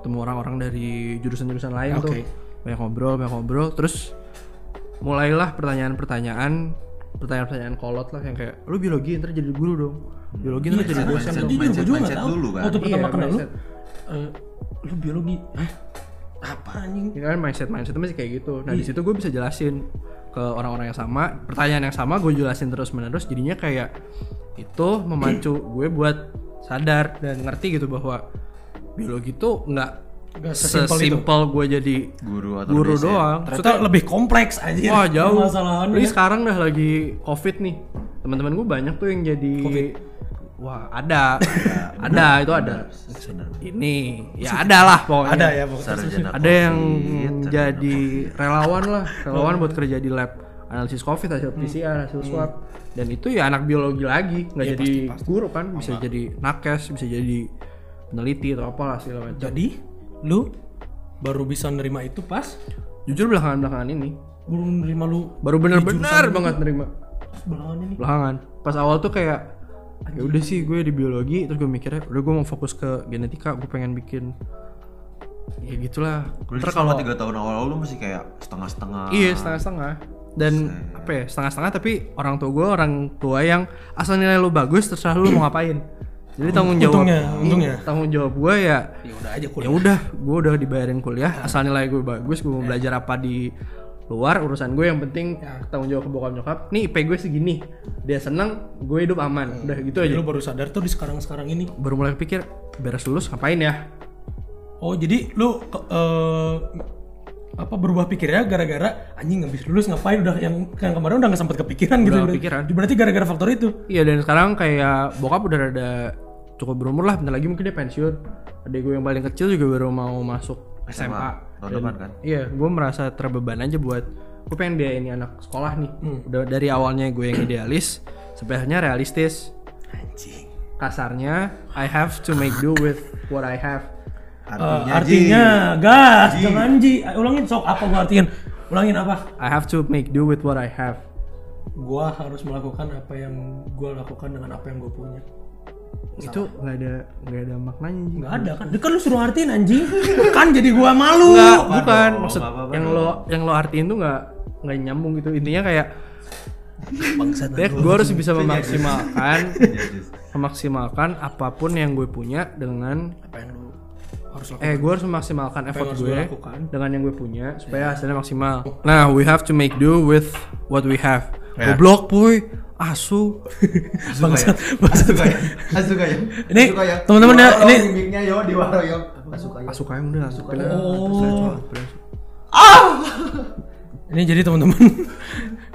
[SPEAKER 3] ketemu orang-orang dari jurusan-jurusan lain
[SPEAKER 1] Oke.
[SPEAKER 3] tuh banyak ngobrol banyak ngobrol terus mulailah pertanyaan-pertanyaan pertanyaan-pertanyaan kolot lah yang kayak lu biologi ntar jadi guru dong biologi ntar jadi dosen
[SPEAKER 2] mindset,
[SPEAKER 1] Iya,
[SPEAKER 3] dong
[SPEAKER 1] Jujur,
[SPEAKER 2] mindset,
[SPEAKER 1] gua juga
[SPEAKER 2] mindset
[SPEAKER 1] nggak tahu.
[SPEAKER 2] dulu kan.
[SPEAKER 1] waktu pertama
[SPEAKER 3] Iya,
[SPEAKER 1] kenal lu
[SPEAKER 3] mindset.
[SPEAKER 1] eh, lu biologi Hah? apa anjing
[SPEAKER 3] Ya kan mindset mindset masih kayak gitu. Nah
[SPEAKER 1] Iya.
[SPEAKER 3] di situ gue bisa jelasin ke orang-orang yang sama, pertanyaan yang sama gue jelasin terus menerus. Jadinya kayak itu memacu gue buat sadar dan ngerti gitu bahwa biologi tuh nggak
[SPEAKER 1] Nggak sesimpel itu.
[SPEAKER 3] sesimpel gue jadi
[SPEAKER 2] Guru atau
[SPEAKER 3] guru
[SPEAKER 2] dosen.
[SPEAKER 3] doang.
[SPEAKER 1] ternyata lebih kompleks aja
[SPEAKER 3] Wah jauh.
[SPEAKER 1] masalahannya
[SPEAKER 3] Ini sekarang dah lagi covid nih. Teman-teman gue banyak tuh yang jadi Wah ada, ada itu ada.
[SPEAKER 2] Benar.
[SPEAKER 3] Ini ya ada lah pokoknya
[SPEAKER 1] ada ya pokoknya
[SPEAKER 2] Sarjana
[SPEAKER 3] ada yang
[SPEAKER 2] Nah, COVID,
[SPEAKER 3] jadi relawan lah relawan buat kerja di lab analisis covid hasil PCR hasil swab dan itu ya anak biologi lagi nggak jadi guru kan bisa jadi nakes bisa jadi peneliti atau apalah segala macam
[SPEAKER 1] jadi lu baru bisa nerima itu pas
[SPEAKER 3] jujur belakangan belakangan ini
[SPEAKER 1] baru nerima lu
[SPEAKER 3] baru bener-bener banget nerima
[SPEAKER 1] belakangan ini
[SPEAKER 3] belakangan pas awal tuh kayak ya udah sih gue di biologi terus gue mikirnya udah gue mau fokus ke genetika gue pengen bikin ya gitulah
[SPEAKER 2] Berarti selama tiga tahun awal lu masih kayak setengah-setengah.
[SPEAKER 3] Iya
[SPEAKER 1] Ah.
[SPEAKER 3] setengah-setengah dan apa ya setengah-setengah tapi orang tua gue orang tua yang asal nilai lu bagus terserah lu mau ngapain jadi tanggung
[SPEAKER 1] Oh,
[SPEAKER 3] jawab
[SPEAKER 1] untungnya, untungnya.
[SPEAKER 3] Iya, tanggung jawab gue ya
[SPEAKER 1] ya udah aja
[SPEAKER 3] ya
[SPEAKER 1] kuliah
[SPEAKER 3] udah gue udah dibayarin kuliah
[SPEAKER 1] Ah.
[SPEAKER 3] asal nilai gue bagus gue
[SPEAKER 1] Eh.
[SPEAKER 3] mau belajar apa di luar urusan gue yang penting
[SPEAKER 1] Ya.
[SPEAKER 3] tanggung jawab ke bokap nyokap nih IP gue segini dia seneng gue hidup aman udah gitu aja
[SPEAKER 1] Iya. Ya lu baru sadar tuh di sekarang sekarang ini
[SPEAKER 3] baru mulai pikir beres lulus ngapain ya
[SPEAKER 1] oh jadi lu ke- eh, apa berubah pikirnya gara-gara anjing habis lulus ngapain udah yang, yang kemarin udah nggak sempat kepikiran gitu
[SPEAKER 3] Udah
[SPEAKER 1] berarti.
[SPEAKER 3] kepikiran.
[SPEAKER 1] berarti gara-gara faktor itu
[SPEAKER 3] Iya dan sekarang kayak bokap udah ada cukup berumur lah, bentar lagi mungkin dia pensiun. Adik gue yang paling kecil juga baru mau masuk SMA.
[SPEAKER 2] Tahun depan kan.
[SPEAKER 3] Iya, gue merasa terbeban aja buat gue pengen dia ini anak sekolah nih.
[SPEAKER 2] Hmm.
[SPEAKER 3] Udah dari awalnya gue yang idealis, sampai akhirnya realistis.
[SPEAKER 1] anjing
[SPEAKER 3] Kasarnya I have to make do with what I have.
[SPEAKER 1] Eh,
[SPEAKER 2] Artinya,
[SPEAKER 1] artinya gas jangan ji Ayo, ulangin sok apa gua artiin ulangin apa
[SPEAKER 3] I have to make do with what I have.
[SPEAKER 1] gua harus melakukan apa yang gua lakukan dengan apa yang gua punya
[SPEAKER 3] Itu nggak ada nggak ada maknanya. Ji.
[SPEAKER 1] nggak ada kan kan lu suruh artiin anjing kan jadi gua malu
[SPEAKER 3] Enggak, bukan
[SPEAKER 2] dong,
[SPEAKER 3] maksud
[SPEAKER 2] Oh, apa-apa
[SPEAKER 3] yang lo yang lo artiin tuh nggak nggak nyambung gitu intinya kayak
[SPEAKER 1] bangsat
[SPEAKER 3] Dek, gue harus bisa
[SPEAKER 1] Iya,
[SPEAKER 3] memaksimalkan memaksimalkan apapun yang gue punya dengan
[SPEAKER 1] apa yang lu harus lakukan
[SPEAKER 3] eh gue harus memaksimalkan effort
[SPEAKER 1] harus
[SPEAKER 3] gue
[SPEAKER 1] gue lakukan? Iya.
[SPEAKER 3] dengan yang gue punya supaya hasilnya maksimal. Nah, we have to make do with what we have.
[SPEAKER 1] Iya.
[SPEAKER 3] Goblok puy, asu.
[SPEAKER 1] bangsat bangsat
[SPEAKER 2] Asuka ya. Asuka ya.
[SPEAKER 1] Ini,
[SPEAKER 2] Asuka ya.
[SPEAKER 1] teman-teman ya,
[SPEAKER 2] Diwaro,
[SPEAKER 1] ini-
[SPEAKER 2] bimbingnya yo di waro yo. Asuka ya.
[SPEAKER 3] Asu kayak udah asu kayak.
[SPEAKER 1] oh ini jadi teman-teman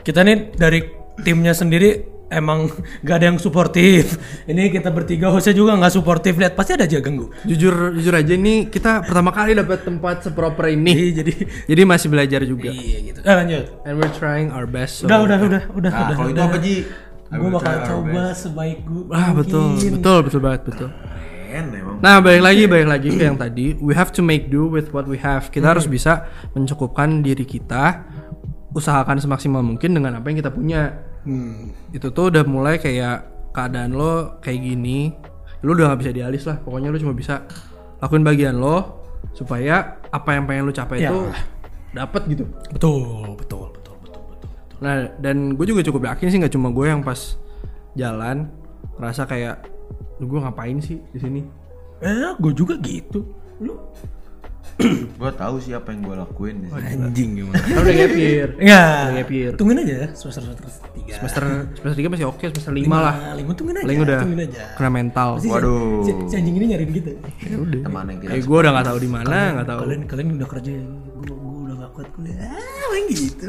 [SPEAKER 1] kita nih dari timnya sendiri emang gak ada yang suportif ini kita bertiga hostnya juga nggak suportif lihat pasti ada aja ganggu
[SPEAKER 3] Jujur jujur aja nih kita pertama kali dapat tempat seproper ini.
[SPEAKER 1] jadi jadi
[SPEAKER 3] Jadi masih belajar juga.
[SPEAKER 1] iya gitu eh, lanjut
[SPEAKER 3] And we're trying our best. so-
[SPEAKER 1] udah udah udah udah
[SPEAKER 2] Nah,
[SPEAKER 1] udah
[SPEAKER 2] kalau itu apa Ji?
[SPEAKER 1] gue bakal coba sebaik gue
[SPEAKER 3] Ah, betul, betul, betul banget, betul.
[SPEAKER 2] Keren emang.
[SPEAKER 3] Nah, balik lagi, balik lagi ke yang tadi. We have to make do with what we have. Kita harus bisa mencukupkan diri kita, usahakan semaksimal mungkin dengan apa yang kita punya. Itu tuh udah mulai kayak keadaan lo kayak gini, lo udah gak bisa dialis lah. Pokoknya lo cuma bisa lakuin bagian lo supaya apa yang pengen lo capai
[SPEAKER 1] Ya.
[SPEAKER 3] itu dapat gitu.
[SPEAKER 1] betul betul betul betul betul
[SPEAKER 3] Nah, dan gue juga cukup yakin sih nggak cuma gue yang pas jalan ngerasa kayak gue ngapain sih di sini?
[SPEAKER 1] eh gue juga gitu lu
[SPEAKER 2] Gue tahu sih apa yang gue lakuin. di sini.
[SPEAKER 1] anjing gimana
[SPEAKER 3] Kan udah gap year.
[SPEAKER 1] ya
[SPEAKER 3] Gap year.
[SPEAKER 1] tungguin aja ya semester semester tiga
[SPEAKER 3] semester semester tiga masih oke semester lima lah
[SPEAKER 1] Nah, lima tungguin aja
[SPEAKER 3] paling udah
[SPEAKER 1] tungguin aja
[SPEAKER 3] kena mental
[SPEAKER 1] Pasti si-
[SPEAKER 2] Waduh.
[SPEAKER 1] si, si anjing ini nyariin kita
[SPEAKER 2] Teman yang tidak.
[SPEAKER 3] eh gue udah nggak tahu di mana nggak tahu
[SPEAKER 1] kalian kalian udah kerja ya gue gue udah gak kuat kuliah ah paling gitu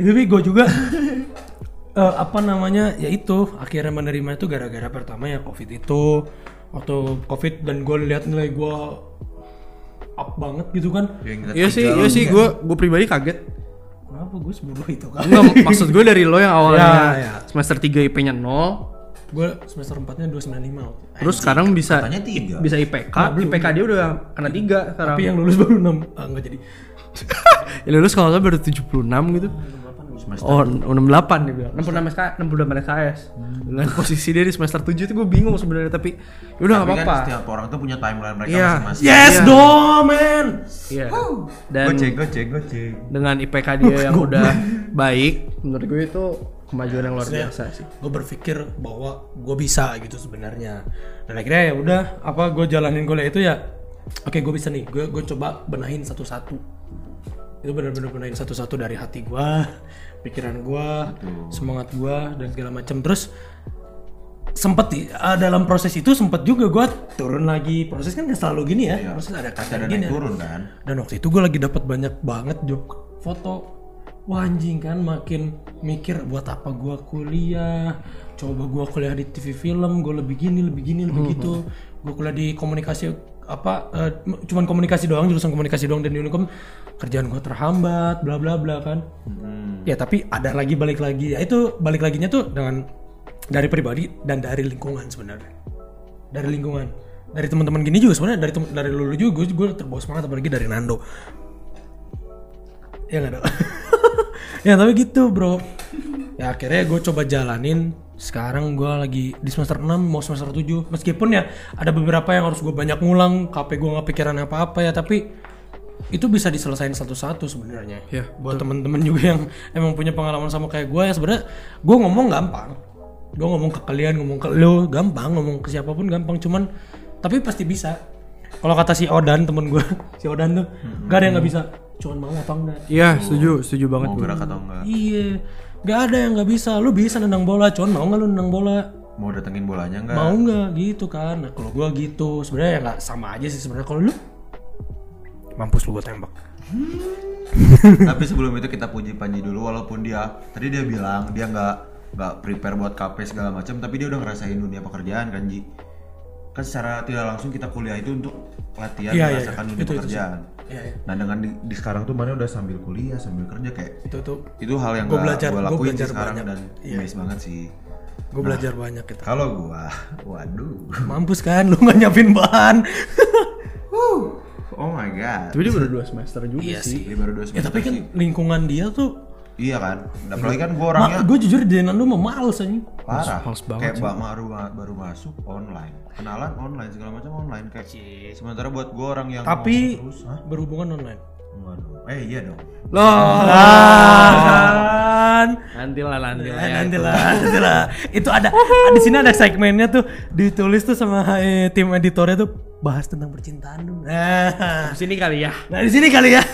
[SPEAKER 1] itu tapi gue juga eh, apa namanya ya itu akhirnya menerima itu gara-gara pertama ya covid itu waktu covid dan gue lihat nilai gue up banget gitu kan
[SPEAKER 2] Yang
[SPEAKER 3] Iya sih, iya sih
[SPEAKER 1] ya.
[SPEAKER 3] gue gue pribadi kaget.
[SPEAKER 1] kenapa gue sebodoh itu kan
[SPEAKER 3] Enggak, maksud gue dari lo yang awalnya
[SPEAKER 1] Ya, ya.
[SPEAKER 3] semester 3 IP-nya 0,
[SPEAKER 1] gue semester 4 nya 295 waktu.
[SPEAKER 3] terus sekarang bisa
[SPEAKER 2] Tanya tiga.
[SPEAKER 3] bisa IPK, IPK dia udah kena 3
[SPEAKER 1] Nah,
[SPEAKER 3] sekarang.
[SPEAKER 1] tapi ya. yang lulus baru 6 ah, enggak jadi
[SPEAKER 3] Ya lulus kalau nggak salah baru 76 gitu. Oh, 68 dia bilang. 66 SKS, 68 SKS.
[SPEAKER 1] Hmm.
[SPEAKER 3] Dengan posisi dia di semester 7 itu gue bingung sebenarnya tapi ya udah
[SPEAKER 2] Tapi
[SPEAKER 3] enggak
[SPEAKER 2] kan
[SPEAKER 3] apa-apa.
[SPEAKER 2] setiap orang tuh punya timeline mereka
[SPEAKER 3] Iya.
[SPEAKER 2] masing-masing.
[SPEAKER 1] yes
[SPEAKER 3] Iya.
[SPEAKER 1] dong man
[SPEAKER 3] Iya. Dan
[SPEAKER 2] Goceng, goceng, goceng.
[SPEAKER 3] dengan IPK dia yang udah baik, menurut gue itu kemajuan yang luar biasa sih.
[SPEAKER 1] gue berpikir bahwa gue bisa gitu sebenarnya dan akhirnya ya udah apa gue jalanin kuliah itu ya oke gue bisa nih gue gue coba benahin satu-satu itu benar-benar benahin satu-satu dari hati gue pikiran gue semangat gue dan segala macam terus sempet di- ah, dalam proses itu sempet juga gue turun lagi proses kan gak selalu gini ya
[SPEAKER 3] Iya.
[SPEAKER 1] proses ada
[SPEAKER 2] Pasti
[SPEAKER 1] kata
[SPEAKER 2] ada
[SPEAKER 1] gini ya.
[SPEAKER 2] naik turun kan.
[SPEAKER 1] dan waktu itu gue lagi dapat banyak banget job foto wah anjing kan makin mikir buat apa gue kuliah coba gue kuliah di TV film gue lebih gini lebih gini lebih gitu gue kuliah di komunikasi apa eh, m- cuman komunikasi doang jurusan komunikasi doang dan di Unicom kerjaan gue terhambat bla bla bla kan ya tapi ada lagi balik lagi ya itu balik laginya tuh dengan dari pribadi dan dari lingkungan sebenarnya dari lingkungan dari teman-teman gini juga sebenarnya dari tem- dari lulu juga gue gue terbawa semangat apalagi dari Nando ya nggak ada ya tapi gitu bro ya akhirnya gue coba jalanin sekarang gue lagi di semester 6 mau semester 7 meskipun ya ada beberapa yang harus gue banyak ngulang KP gue nggak pikiran apa-apa ya tapi itu bisa diselesain satu-satu sebenarnya
[SPEAKER 3] Ya,
[SPEAKER 1] buat temen-temen juga yang emang punya pengalaman sama kayak gue ya sebenarnya gue ngomong gampang gue ngomong ke kalian ngomong ke lo gampang ngomong ke siapapun gampang cuman tapi pasti bisa kalau kata si Odan temen gue si Odan tuh gak ada yang nggak bisa cuman mau apa enggak
[SPEAKER 3] Iya, setuju, setuju banget
[SPEAKER 2] Mau
[SPEAKER 3] gue.
[SPEAKER 2] gerak atau enggak?
[SPEAKER 1] iya gak ada yang nggak bisa lu bisa nendang bola cuman mau nggak lu nendang bola
[SPEAKER 2] Mau datengin bolanya enggak?
[SPEAKER 1] mau nggak gitu kan nah kalau gue gitu sebenarnya ya nggak sama aja sih sebenarnya kalau lu mampus lu gue tembak
[SPEAKER 2] Tapi sebelum itu kita puji Panji dulu walaupun dia tadi dia bilang dia nggak nggak prepare buat KP segala macam tapi dia udah ngerasain dunia pekerjaan kan Ji. Kan secara tidak langsung kita kuliah itu untuk latihan
[SPEAKER 1] Iya, iya,
[SPEAKER 2] merasakan
[SPEAKER 1] iya.
[SPEAKER 2] dunia
[SPEAKER 1] Itu- itu sih.
[SPEAKER 2] pekerjaan.
[SPEAKER 1] Iya, iya.
[SPEAKER 2] Nah dengan di, di sekarang tuh mana udah sambil kuliah sambil kerja kayak
[SPEAKER 1] itu tuh
[SPEAKER 2] itu hal yang
[SPEAKER 1] Gua
[SPEAKER 2] gua
[SPEAKER 1] belajar-
[SPEAKER 2] gua
[SPEAKER 1] gua
[SPEAKER 2] lakuin
[SPEAKER 1] belajar
[SPEAKER 2] sih sekarang
[SPEAKER 1] banyak. Iya.
[SPEAKER 2] dan amazed banget sih.
[SPEAKER 1] gue belajar banyak gitu
[SPEAKER 2] Kalau gua, waduh,
[SPEAKER 1] mampus kan lu nggak nyiapin bahan
[SPEAKER 2] oh my god,
[SPEAKER 3] Tapi dia baru 2 semester juga Iya sih.
[SPEAKER 2] Dia baru dua
[SPEAKER 1] ya
[SPEAKER 2] semester
[SPEAKER 1] tapi kan
[SPEAKER 2] sih.
[SPEAKER 1] lingkungan dia tuh
[SPEAKER 2] Iya kan, Dan apalagi kan gua orangnya
[SPEAKER 1] gue jujur di Nando mah males anjing
[SPEAKER 2] parah
[SPEAKER 3] Males banget
[SPEAKER 2] kayak Mbak baru baru masuk online kenalan online segala macam online kayak sementara buat gue orang yang
[SPEAKER 1] tapi
[SPEAKER 2] ngomong terus, Hah?
[SPEAKER 1] berhubungan online
[SPEAKER 2] Enggak dong. eh iya dong
[SPEAKER 3] Loh,
[SPEAKER 1] kan Eh,
[SPEAKER 3] nanti lah, nanti lah. Ah. ya.
[SPEAKER 1] nanti lah nanti lah itu ada ah, di sini ada segmennya tuh ditulis tuh sama eh, tim editornya tuh bahas tentang percintaan dong nah,
[SPEAKER 3] Di Sini kali ya.
[SPEAKER 1] nah di sini kali ya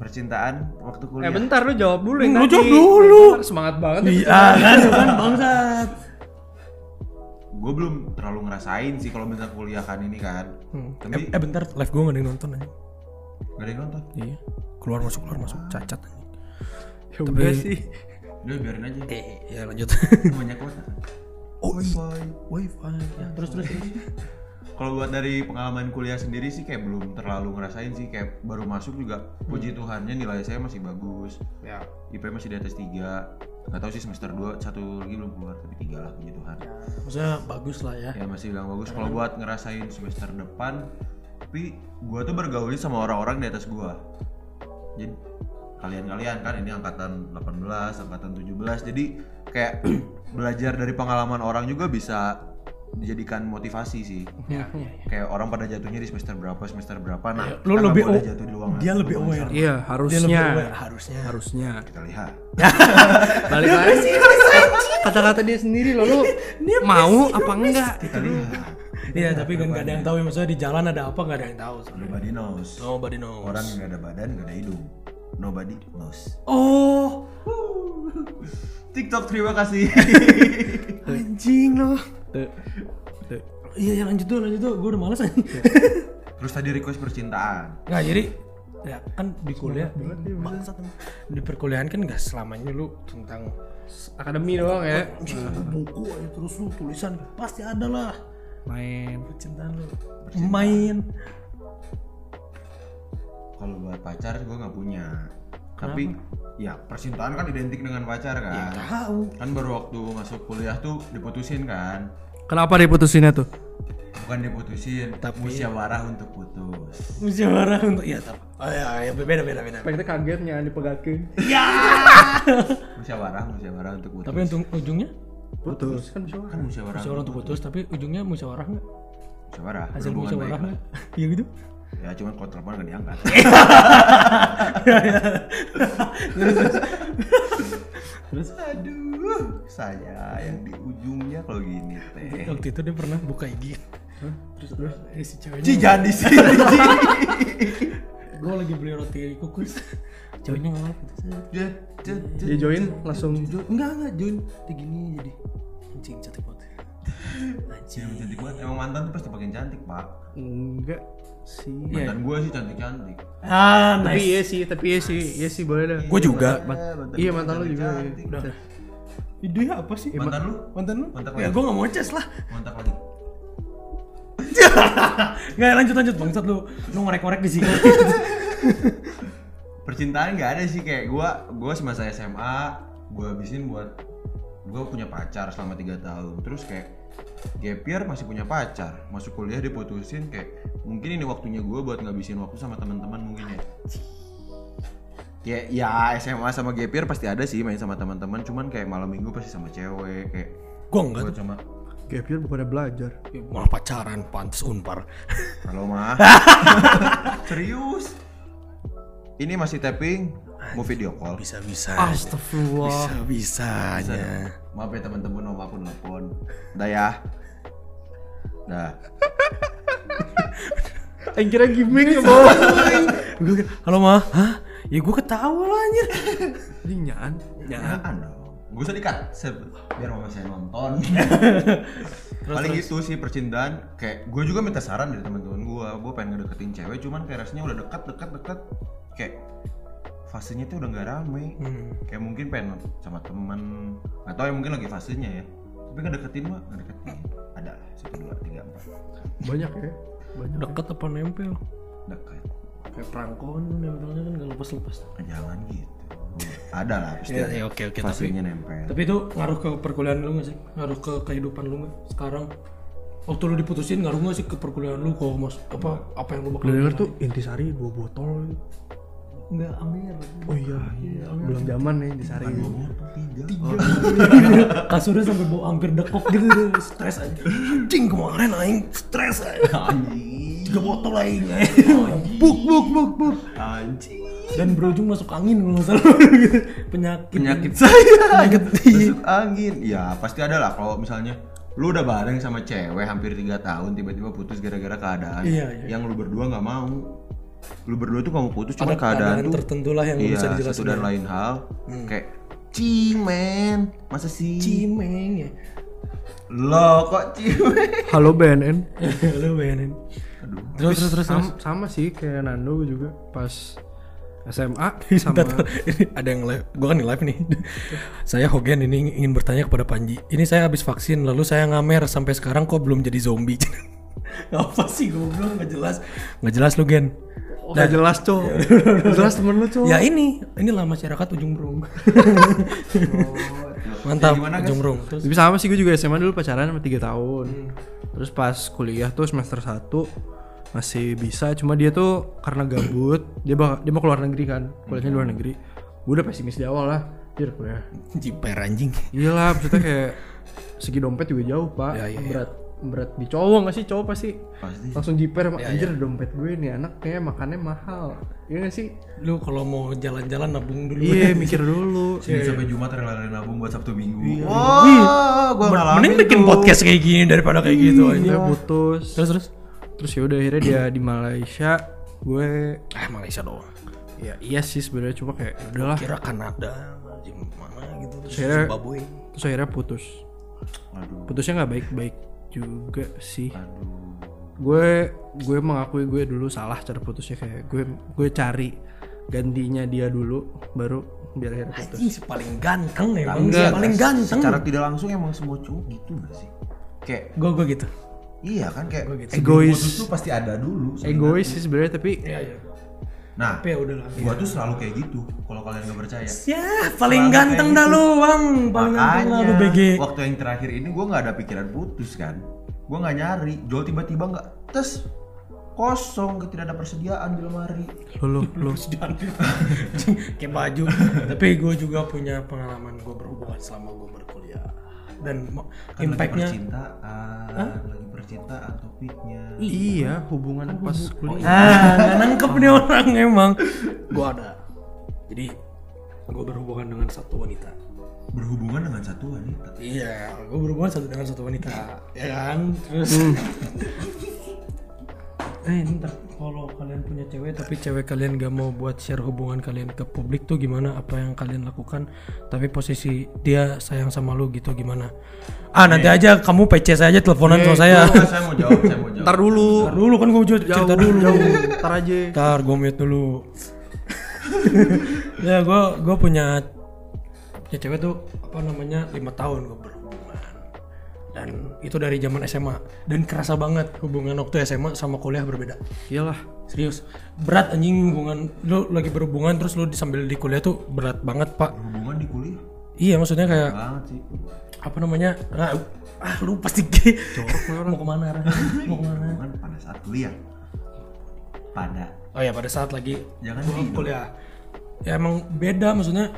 [SPEAKER 2] percintaan waktu
[SPEAKER 3] Eh
[SPEAKER 2] kuliah
[SPEAKER 3] bentar lu jawab dulu yang
[SPEAKER 1] Lu
[SPEAKER 3] tadi.
[SPEAKER 1] jawab dulu.
[SPEAKER 3] Bentar, Semangat banget. ya.
[SPEAKER 1] iya kan tuh kan bangsat
[SPEAKER 2] gue belum terlalu ngerasain sih kalau bentar kuliah kan ini kan
[SPEAKER 1] eh,
[SPEAKER 2] tapi
[SPEAKER 1] eh, bentar live gue nggak ada yang nonton anjing
[SPEAKER 2] gak ada yang nonton
[SPEAKER 1] iya keluar masuk keluar masuk cacat anjing
[SPEAKER 3] Ya udah sih.
[SPEAKER 2] udah biarin aja
[SPEAKER 1] eh ya lanjut
[SPEAKER 2] banyak kuota
[SPEAKER 1] oh iya
[SPEAKER 2] Boy.
[SPEAKER 1] wifi ya terus terus terus
[SPEAKER 2] kalau buat dari pengalaman kuliah sendiri sih kayak belum terlalu ngerasain sih kayak baru masuk juga puji Tuhannya nilai saya masih bagus
[SPEAKER 3] Ya.
[SPEAKER 2] IP masih di atas 3 nggak tahu sih semester 2 satu lagi belum keluar tapi tiga lah puji Tuhan
[SPEAKER 1] Ya. maksudnya bagus lah ya
[SPEAKER 2] ya masih bilang bagus kalau buat ngerasain semester depan tapi gua tuh bergaulnya sama orang-orang di atas gua jadi kalian-kalian kan ini angkatan 18 angkatan 17 jadi kayak belajar dari pengalaman orang juga bisa dijadikan motivasi sih
[SPEAKER 3] Iya.
[SPEAKER 2] kayak orang pada jatuhnya di semester berapa semester berapa nah
[SPEAKER 1] Iya, lu
[SPEAKER 2] kita nggak
[SPEAKER 1] lebih
[SPEAKER 2] boleh
[SPEAKER 1] aw-
[SPEAKER 2] jatuh di luang
[SPEAKER 1] dia lebih
[SPEAKER 2] luang
[SPEAKER 1] aware
[SPEAKER 3] Iya,
[SPEAKER 1] dia lebih
[SPEAKER 3] harusnya.
[SPEAKER 1] aware harusnya
[SPEAKER 3] Harusnya.
[SPEAKER 2] kita lihat
[SPEAKER 3] Balik lagi. Kata-kata dia sendiri loh lu mau apa enggak?
[SPEAKER 2] kita lihat
[SPEAKER 1] iya tapi kan nggak ada yang tahu ya maksudnya di jalan ada apa nggak ada yang tahu
[SPEAKER 2] nobody knows
[SPEAKER 1] nobody knows
[SPEAKER 2] orang yang nggak ada badan nggak ada hidung nobody knows
[SPEAKER 1] oh
[SPEAKER 2] TikTok terima kasih
[SPEAKER 1] anjing loh
[SPEAKER 3] Tuh. Tuh.
[SPEAKER 1] iya ya lanjut tuh lanjut tuh gue udah males anjing
[SPEAKER 2] Terus tadi request percintaan.
[SPEAKER 1] nah Iya. jadi ya kan di kuliah bangsat emang. di perkuliahan kan nggak selamanya lu tentang eh,
[SPEAKER 3] akademi doang ya
[SPEAKER 1] Anjing, ada buku aja terus lu tulisan pasti ada lah
[SPEAKER 3] main
[SPEAKER 1] percintaan lu main
[SPEAKER 2] Kalau buat pacar gue nggak punya. Tapi ya percintaan kan identik dengan pacar kan.
[SPEAKER 1] tahu
[SPEAKER 2] Kan baru waktu masuk kuliah tuh diputusin kan.
[SPEAKER 3] kenapa diputusinnya tuh
[SPEAKER 2] Bukan diputusin, tapi musyawarah untuk putus.
[SPEAKER 1] musyawarah untuk ya tapi oh, ya, ya, beda beda beda
[SPEAKER 3] pengen kagetnya dipegatin
[SPEAKER 2] Musyawarah, musyawarah untuk putus.
[SPEAKER 1] tapi untuk ujungnya
[SPEAKER 3] putus kan bisa
[SPEAKER 2] kan musyawarah.
[SPEAKER 1] musyawarah untuk putus tapi ujungnya musyawarah nggak
[SPEAKER 2] Musyawarah.
[SPEAKER 1] hasil
[SPEAKER 2] berhubungan
[SPEAKER 1] musyawarah
[SPEAKER 2] baik lah.
[SPEAKER 1] nggak ya gitu
[SPEAKER 2] Ya cuman kalau telepon nggak diangkat. Terus aduh, saya yang di ujungnya kalau gini teh.
[SPEAKER 1] waktu itu dia pernah buka IG terus Eh. terus eh, si ceweknya
[SPEAKER 2] Ci jangan di sini. Ci.
[SPEAKER 1] gue lagi beli roti kukus ceweknya ngelap gitu
[SPEAKER 3] Iya,
[SPEAKER 2] Jat, jat, jat.
[SPEAKER 3] dia join langsung
[SPEAKER 2] Jo- Enggak enggak Jun, kayak gini jadi.
[SPEAKER 1] anjing cantik banget anjing
[SPEAKER 2] Emang cantik banget. Emang mantan tuh pasti pakai cantik, Pak.
[SPEAKER 3] enggak sih
[SPEAKER 2] Mantan gue sih cantik-cantik.
[SPEAKER 1] ah
[SPEAKER 3] Iya, tapi
[SPEAKER 1] nice
[SPEAKER 3] iya sih tapi iya sih iya sih boleh dah
[SPEAKER 1] gue
[SPEAKER 2] Eh,
[SPEAKER 1] juga
[SPEAKER 3] iya mantan lu juga
[SPEAKER 2] cantik.
[SPEAKER 3] iya.
[SPEAKER 1] udah ide apa sih
[SPEAKER 2] Mantan lu?
[SPEAKER 1] mantan lu
[SPEAKER 2] Mantan
[SPEAKER 1] ya
[SPEAKER 2] lu.
[SPEAKER 1] gue nggak mau ces lah
[SPEAKER 2] Kontak lagi.
[SPEAKER 1] nggak lanjut lanjut bangsat lu lu ngorek-ngorek di sini
[SPEAKER 2] Percintaan nggak ada sih kayak gue. Gue semasa SMA gue habisin buat gue punya pacar selama tiga tahun. Terus kayak gap year masih punya pacar. Masuk kuliah diputusin kayak mungkin ini waktunya gue buat ngabisin waktu sama teman-teman mungkin ya. Ya, ya SMA sama gap year pasti ada sih main sama teman-teman. Cuman kayak malam minggu pasti sama cewek kayak.
[SPEAKER 1] gue enggak
[SPEAKER 2] Gue cuma
[SPEAKER 3] gap year bukannya belajar
[SPEAKER 1] malah pacaran pantas unpar
[SPEAKER 2] Halo mah. Serius. Ini masih tapping, mau video call.
[SPEAKER 1] bisa bisa
[SPEAKER 3] astagfirullah
[SPEAKER 1] bisa bisanya
[SPEAKER 2] Maaf ya teman-teman, om aku nelfon. Dah ya. Dah.
[SPEAKER 3] yang kira gimmick ya bos
[SPEAKER 1] gue halo ma hah ya gue ketawa lah anjir
[SPEAKER 3] ini nyaan
[SPEAKER 2] Jangan dong. Gue usah dikat, se- biar mama saya nonton. Paling itu sih percintaan. Kayak gue juga minta saran dari teman-teman gue. Gue pengen ngedeketin cewek, cuman kayak rasanya udah dekat, dekat, dekat. Kayak fasenya tuh udah nggak rame.
[SPEAKER 1] hmm.
[SPEAKER 2] kayak mungkin pengen sama temen atau yang mungkin lagi fasenya ya tapi ngedeketin mah ngedeketin ada lah satu dua tiga empat
[SPEAKER 3] banyak ya banyak
[SPEAKER 1] deket apa nempel
[SPEAKER 2] dekat
[SPEAKER 1] kayak perangkon nempelnya kan nggak lepas lepas
[SPEAKER 2] jangan gitu ada lah pasti
[SPEAKER 1] ya,
[SPEAKER 2] ada.
[SPEAKER 1] ya oke oke tapi
[SPEAKER 2] fasenya nempel
[SPEAKER 1] tapi itu ngaruh ke perkuliahan lu nggak sih ngaruh ke kehidupan lu nggak sekarang waktu lu diputusin ngaruh nggak sih ke perkuliahan lu kok mas apa apa yang lu bakal
[SPEAKER 3] Gue denger tuh intisari dua botol
[SPEAKER 1] nggak amir
[SPEAKER 3] Oh iya, belum zaman nih intisari
[SPEAKER 2] tiga
[SPEAKER 1] kasurnya sampai bau hampir dekok gitu stres aja anjing kemarin aing stres aja
[SPEAKER 2] anjing
[SPEAKER 1] tiga botol aing
[SPEAKER 3] Buk buk buk buk.
[SPEAKER 2] anjing
[SPEAKER 1] dan berujung masuk angin kalau nggak salah gitu. penyakit
[SPEAKER 2] penyakit saya
[SPEAKER 1] penyakit
[SPEAKER 2] masuk angin ya pasti ada lah kalau misalnya lu udah bareng sama cewek hampir tiga tahun tiba-tiba putus gara-gara keadaan
[SPEAKER 1] Iya, iya.
[SPEAKER 2] yang lu berdua nggak mau lu berdua tuh kamu putus
[SPEAKER 1] ada
[SPEAKER 2] cuma
[SPEAKER 1] keadaan
[SPEAKER 2] keadaan, tuh
[SPEAKER 1] tertentu lah yang
[SPEAKER 2] iya,
[SPEAKER 1] bisa
[SPEAKER 2] satu
[SPEAKER 1] dijelasin ya. Hmm.
[SPEAKER 2] dan lain hal kayak cimen masa sih
[SPEAKER 1] cimeng ya
[SPEAKER 2] lo kok cimen
[SPEAKER 3] Halo BNN.
[SPEAKER 1] lu bayangin
[SPEAKER 2] aduh
[SPEAKER 1] terus terus terus
[SPEAKER 3] Sama, sama sih kayak Nando juga pas SMA sama
[SPEAKER 1] Bentar, ini ada yang live, gue kan di live nih. saya Hogan ini ingin bertanya kepada Panji. Ini saya habis vaksin, lalu saya ngamer sampai sekarang kok belum jadi zombie. Apa sih goblok nggak jelas? Nggak jelas lu Gen.
[SPEAKER 3] Oh, nggak jelas cowok jelas temen lu cowok
[SPEAKER 1] Ya ini, inilah masyarakat ujung berung. Mantap, ujung berung. Ya, Terus
[SPEAKER 3] tapi sama sih gue juga SMA dulu pacaran sama 3 tahun terus pas kuliah tuh semester 1 masih bisa cuma dia tuh karena gabut dia bak- dia mau keluar negeri kan kuliahnya luar negeri gue udah pesimis di awal lah dia kuliah
[SPEAKER 1] jiper anjing.
[SPEAKER 3] Iya lah, maksudnya kayak segi dompet juga jauh pak,
[SPEAKER 1] Ya, iya, iya.
[SPEAKER 3] berat berat di cowok nggak sih cowok pasti Ya,
[SPEAKER 2] pasti
[SPEAKER 3] langsung jiper sama anjir dompet gue nih anak kayaknya makannya mahal iya nggak sih
[SPEAKER 1] Lu kalau mau jalan-jalan nabung dulu.
[SPEAKER 3] iya mikir dulu
[SPEAKER 2] Senin sampai Jumat rela-rela nabung buat Sabtu Minggu. Iya. Wah, gua
[SPEAKER 1] Mending bikin podcast kayak gini daripada kayak gitu anjing.
[SPEAKER 3] dia putus
[SPEAKER 1] Terus terus.
[SPEAKER 3] Iya. terus ya udah akhirnya dia di Malaysia gue
[SPEAKER 1] Ah Malaysia doang.
[SPEAKER 3] ya iya sih sebenarnya cuma kayak ya udahlah
[SPEAKER 1] Kira Kanada, anjing mana gitu. Terus
[SPEAKER 3] Kira-
[SPEAKER 1] Zimbabwe.
[SPEAKER 3] terus akhirnya putus
[SPEAKER 2] Aduh,
[SPEAKER 3] putusnya nggak baik baik juga sih
[SPEAKER 2] aduh.
[SPEAKER 3] gue gue mengakui gue dulu salah cara putusnya kayak gue gue cari gantinya dia dulu baru biar akhirnya putus
[SPEAKER 1] Anjing si paling ganteng emang, si
[SPEAKER 2] Enggak,
[SPEAKER 1] paling
[SPEAKER 2] se-
[SPEAKER 1] ganteng.
[SPEAKER 2] Iya, Secara tidak langsung emang semua cowok gitu gak sih? Kayak
[SPEAKER 1] Gue gue gitu.
[SPEAKER 2] iya kan kayak
[SPEAKER 1] Gua gitu.
[SPEAKER 2] sebelum
[SPEAKER 3] Egois.
[SPEAKER 2] putus tuh pasti ada dulu. sebenarnya.
[SPEAKER 3] egois sih sebenarnya tapi
[SPEAKER 1] Iya iya.
[SPEAKER 2] Nah,
[SPEAKER 1] Tapi ya udah lah.
[SPEAKER 2] gua tuh selalu kayak gitu kalau kalian gak percaya.
[SPEAKER 1] Ya, paling ganteng dah lu, Bang. Paling ganteng lah lu
[SPEAKER 2] Makanya
[SPEAKER 1] BG.
[SPEAKER 2] waktu yang terakhir ini gua nggak ada pikiran putus kan. Gua nggak nyari. Jol tiba-tiba nggak tes kosong tidak ada persediaan di lemari.
[SPEAKER 3] lo lo lo
[SPEAKER 1] Dan kayak baju. Tapi gue juga punya pengalaman gue berhubungan selama gue berkuliah dan mo-
[SPEAKER 2] Kan
[SPEAKER 1] impactnya
[SPEAKER 2] lagi percintaan, lagi percintaan topiknya.
[SPEAKER 3] iya hubungan pas kuliah
[SPEAKER 1] ah nggak nangkep nih orang emang gue ada jadi gue berhubungan dengan satu wanita
[SPEAKER 2] Berhubungan dengan satu wanita.
[SPEAKER 1] iya gue berhubungan satu dengan satu wanita ya kan terus eh ntar kalau kalian punya cewek tapi cewek kalian gak mau buat share hubungan kalian ke publik tuh gimana apa yang kalian lakukan tapi posisi dia sayang sama lu gitu gimana ah nanti aja kamu pc saya aja teleponan sama saya
[SPEAKER 2] Nggak, saya mau jawab, saya mau jawab.
[SPEAKER 3] ntar dulu
[SPEAKER 1] Ntar dulu kan gue cerita dulu
[SPEAKER 3] ntar aja
[SPEAKER 1] Ntar gue mute dulu. ya gue gue punya ya cewek tuh apa namanya lima tahun gue berhubungan dan itu dari zaman SMA dan kerasa banget hubungan waktu SMA sama kuliah berbeda
[SPEAKER 3] iyalah
[SPEAKER 1] serius berat anjing hubungan lu lagi berhubungan terus lu di- sambil di kuliah tuh berat banget pak
[SPEAKER 2] Berhubungan di kuliah
[SPEAKER 1] iya maksudnya kayak
[SPEAKER 2] banget sih.
[SPEAKER 1] apa namanya nah, ah lu pasti mau kemana arahnya? mau kemana
[SPEAKER 2] Berhubungan pada saat kuliah. Pada
[SPEAKER 1] oh ya pada saat lagi
[SPEAKER 2] jangan
[SPEAKER 1] Gua
[SPEAKER 2] di
[SPEAKER 1] kuliah ya emang beda maksudnya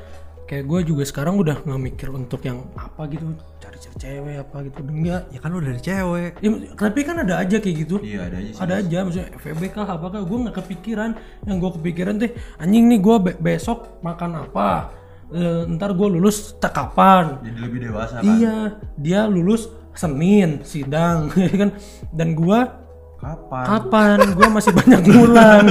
[SPEAKER 1] kayak gue juga sekarang udah nggak mikir untuk yang apa gitu cari cari cewek apa gitu enggak
[SPEAKER 3] ya kan lo dari cewek
[SPEAKER 1] ya, maksud- tapi kan ada aja kayak gitu
[SPEAKER 2] Iya ada aja sih.
[SPEAKER 1] ada aja maksudnya FEB kah apakah gue nggak kepikiran yang gue kepikiran teh anjing nih gue besok makan apa Eh, ntar gue lulus tak kapan
[SPEAKER 2] Jadi lebih dewasa kan.
[SPEAKER 1] iya dia lulus Senin sidang ya kan dan gua
[SPEAKER 2] Kapan?
[SPEAKER 1] kapan gue masih banyak ngulang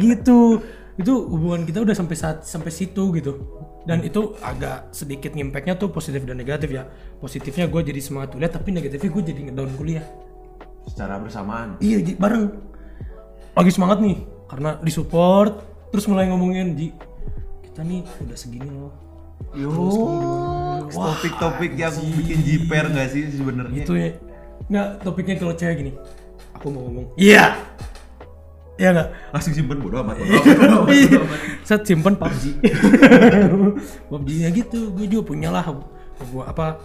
[SPEAKER 1] gitu itu hubungan kita udah sampai saat sampai situ gitu dan itu agak sedikit impactnya tuh positif dan negatif ya positifnya gue jadi semangat kuliah tapi negatifnya gue jadi ngedown kuliah
[SPEAKER 2] Secara bersamaan.
[SPEAKER 1] iya Ji, bareng lagi semangat nih karena disupport terus mulai ngomongin Ji kita nih udah segini loh
[SPEAKER 2] Yo, topik-topik yang bikin jiper gak sih sebenarnya?
[SPEAKER 1] itu ya nggak topiknya kalau cewek gini aku mau ngomong iya iya nggak
[SPEAKER 2] Langsung simpen bodo amat. bodo amat, bodo amat.
[SPEAKER 1] Set simpen PUBG. PUBG nya gitu, gue juga punya lah gua apa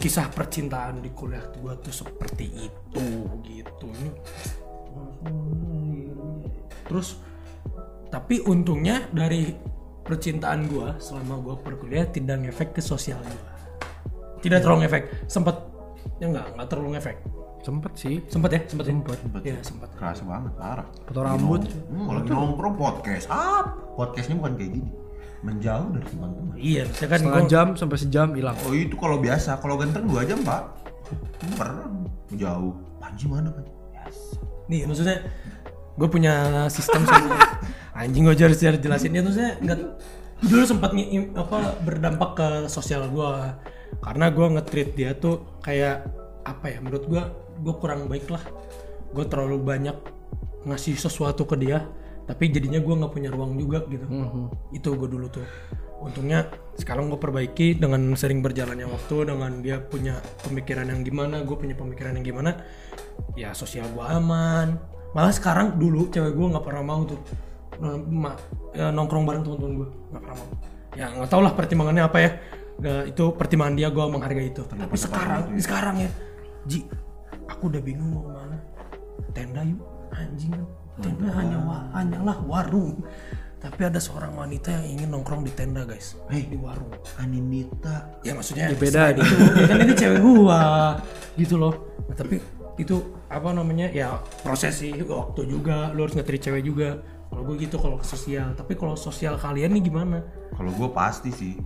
[SPEAKER 1] kisah percintaan di kuliah gue tuh seperti itu gitu. Ini- Terus tapi untungnya dari percintaan gue selama gue perkuliah tidak ngefek ke sosial gue. Tidak terlalu ngefek, sempat ya nggak nggak terlalu ngefek.
[SPEAKER 3] sempet sih
[SPEAKER 1] Sempat ya, sempat
[SPEAKER 3] Sempet.
[SPEAKER 1] Ya, sempat.
[SPEAKER 2] Keras banget, parah.
[SPEAKER 3] potong rambut
[SPEAKER 2] Hmm, kalau lagi nongkrong podcast, ah, podcastnya bukan kayak gini. Menjauh dari teman-teman.
[SPEAKER 1] Iya, maksudnya kan
[SPEAKER 3] setengah
[SPEAKER 1] gua-
[SPEAKER 3] jam sampai sejam hilang
[SPEAKER 2] Oh itu kalau biasa, kalau ganteng dua jam pak. Pernah jauh. Panji mana pak?
[SPEAKER 1] Nih maksudnya gue punya sistem sebenarnya. anjing gue harus harus jelasin ya maksudnya nggak dulu sempat nge- im- apa berdampak ke sosial gue karena gue nge-treat dia tuh kayak apa ya menurut gue gue kurang baik lah gue terlalu banyak ngasih sesuatu ke dia tapi jadinya gue nggak punya ruang juga gitu itu gue dulu tuh untungnya sekarang gue perbaiki dengan sering berjalannya waktu dengan dia punya pemikiran yang gimana gue punya pemikiran yang gimana ya sosial gue aman malah sekarang dulu cewek gue nggak pernah mau tuh non- ma- ya, nongkrong bareng teman-teman gue nggak pernah mau ya nggak tau lah pertimbangannya apa ya Nggak, itu pertimbangan dia gue menghargai itu tapi sekarang sekarang ya Ji aku udah bingung mau kemana tenda yuk anjing tenda hanya wa- hanyalah warung tapi ada seorang wanita yang ingin nongkrong di tenda guys
[SPEAKER 2] Hei.
[SPEAKER 1] di warung
[SPEAKER 2] Aninita.
[SPEAKER 1] ya maksudnya
[SPEAKER 3] beda
[SPEAKER 1] selain itu ya kan ini cewek gua gitu loh Nah, tapi itu apa namanya ya proses sih waktu juga lu harus ngetri cewek juga kalau gue gitu kalau ke sosial tapi kalau sosial kalian nih gimana
[SPEAKER 2] Kalau gue pasti sih.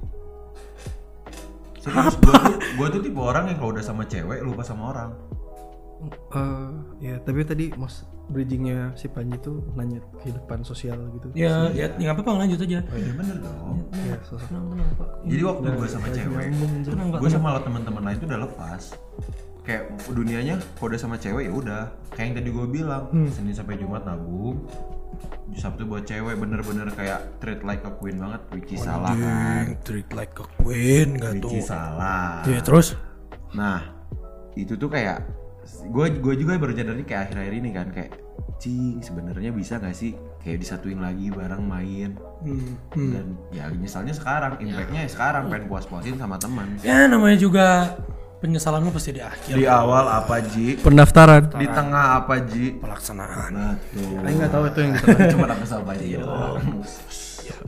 [SPEAKER 2] Serius, gue tuh, gua tuh tipe orang yang kalau udah sama cewek lupa sama orang.
[SPEAKER 3] Eh, ya tapi tadi mas bridgingnya si Panji tuh nanya kehidupan sosial gitu
[SPEAKER 1] ya ya ya nggak apa-apa lanjut aja
[SPEAKER 2] Ya bener dong.
[SPEAKER 3] ya sosok
[SPEAKER 1] tenang tenang pak
[SPEAKER 2] Jadi waktu gue sama cewek,
[SPEAKER 1] tenang pak
[SPEAKER 2] gue sama lo teman-teman lain tuh udah lepas. Kayak dunianya kode sama cewek ya udah. Kayak yang tadi gue bilang, Senin sampai Jumat nabung, Sabtu buat cewek bener-bener kayak treat like a queen banget, which is salah kan,
[SPEAKER 1] treat like a queen gak
[SPEAKER 2] which
[SPEAKER 1] tuh
[SPEAKER 2] is salah.
[SPEAKER 1] ya terus
[SPEAKER 2] Nah, itu tuh kayak gue gue juga baru jadarnya kayak akhir-akhir ini kan kayak cing sebenarnya bisa nggak sih kayak disatuin lagi bareng main
[SPEAKER 1] hmm.
[SPEAKER 2] dan ya nyesalnya sekarang impactnya ya sekarang pengen puas-puasin sama teman
[SPEAKER 1] ya namanya juga penyesalan lu pasti di akhir
[SPEAKER 2] di awal apa Ji
[SPEAKER 3] Pendaftaran.
[SPEAKER 2] di tengah apa Ji
[SPEAKER 1] pelaksanaan
[SPEAKER 2] betul
[SPEAKER 3] Saya nggak tahu itu yang
[SPEAKER 2] cuma aku sama aja ya
[SPEAKER 3] Oke,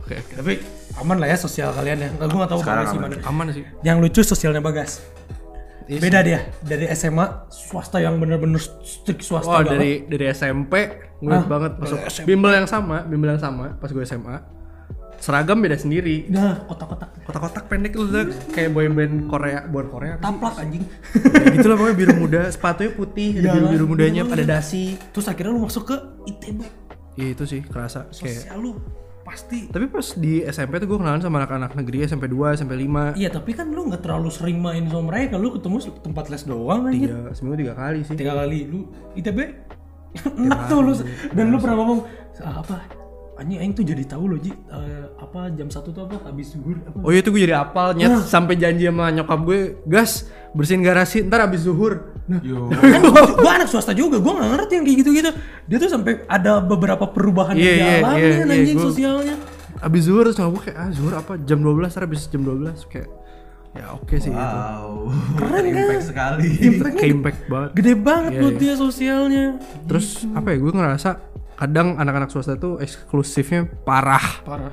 [SPEAKER 3] oke.
[SPEAKER 1] tapi aman lah ya sosial kalian ya Nggak, gua gak tahu
[SPEAKER 2] Sekarang
[SPEAKER 1] Bagas
[SPEAKER 2] aman.
[SPEAKER 1] gimana
[SPEAKER 3] Aman sih.
[SPEAKER 1] yang lucu sosialnya bagas
[SPEAKER 3] Iya
[SPEAKER 1] beda dia dari SMA swasta yang bener-bener strict swasta banget.
[SPEAKER 3] Wah Oh, dari dari SMP gue inget banget masuk bimbel yang sama, bimbel yang sama pas gue SMA. Seragam beda sendiri.
[SPEAKER 1] Nah, kotak-kotak
[SPEAKER 3] Kotak-kotak pendek lu Zak. kayak boyband Korea, boyband Korea.
[SPEAKER 1] taplak anjing
[SPEAKER 3] Ya, gitu lah pokoknya biru muda, sepatunya putih, ada biru-biru mudanya pada dasi.
[SPEAKER 1] terus akhirnya lu masuk ke ITB
[SPEAKER 3] Iya itu sih kerasa kayak.
[SPEAKER 1] sosial lu pasti
[SPEAKER 3] Tapi pas di SMP tuh gue kenalan sama anak-anak negeri SMP 2, SMP 5.
[SPEAKER 1] Iya tapi kan lu nggak terlalu sering main sama mereka, lu ketemu se- tempat les doang anjir.
[SPEAKER 3] Tiga, seminggu tiga kali sih.
[SPEAKER 1] Tiga kali lu ITB enak tuh lu dan lu pernah ngomong "Ah, apa anjing aing tuh jadi tahu loh Ji Eh, apa jam satu tuh apa habis zuhur apa
[SPEAKER 3] Oh iya tuh gue jadi apal nyet sampai janji sama nyokap gue, gas bersihin garasi ntar abis zuhur. Nah,
[SPEAKER 1] Kan gua, gua anak swasta juga, gua gak ngerti yang kayak gitu-gitu Dia tuh sampai ada beberapa perubahan
[SPEAKER 3] Iya, iya,
[SPEAKER 1] yang dialami
[SPEAKER 3] iya, iya,
[SPEAKER 1] anjing
[SPEAKER 3] gua-
[SPEAKER 1] sosialnya
[SPEAKER 3] Abis zuhur terus nyokap gue kayak ah zuhur apa jam 12 ntar abis jam 12 kayak ya oke sih itu.
[SPEAKER 2] wow kan? impact sekali
[SPEAKER 1] Impactnya
[SPEAKER 3] Kayak impact banget.
[SPEAKER 1] gede banget buat dia sosialnya
[SPEAKER 3] Terus apa ya gue ngerasa kadang anak-anak swasta tuh eksklusifnya parah,
[SPEAKER 1] Parah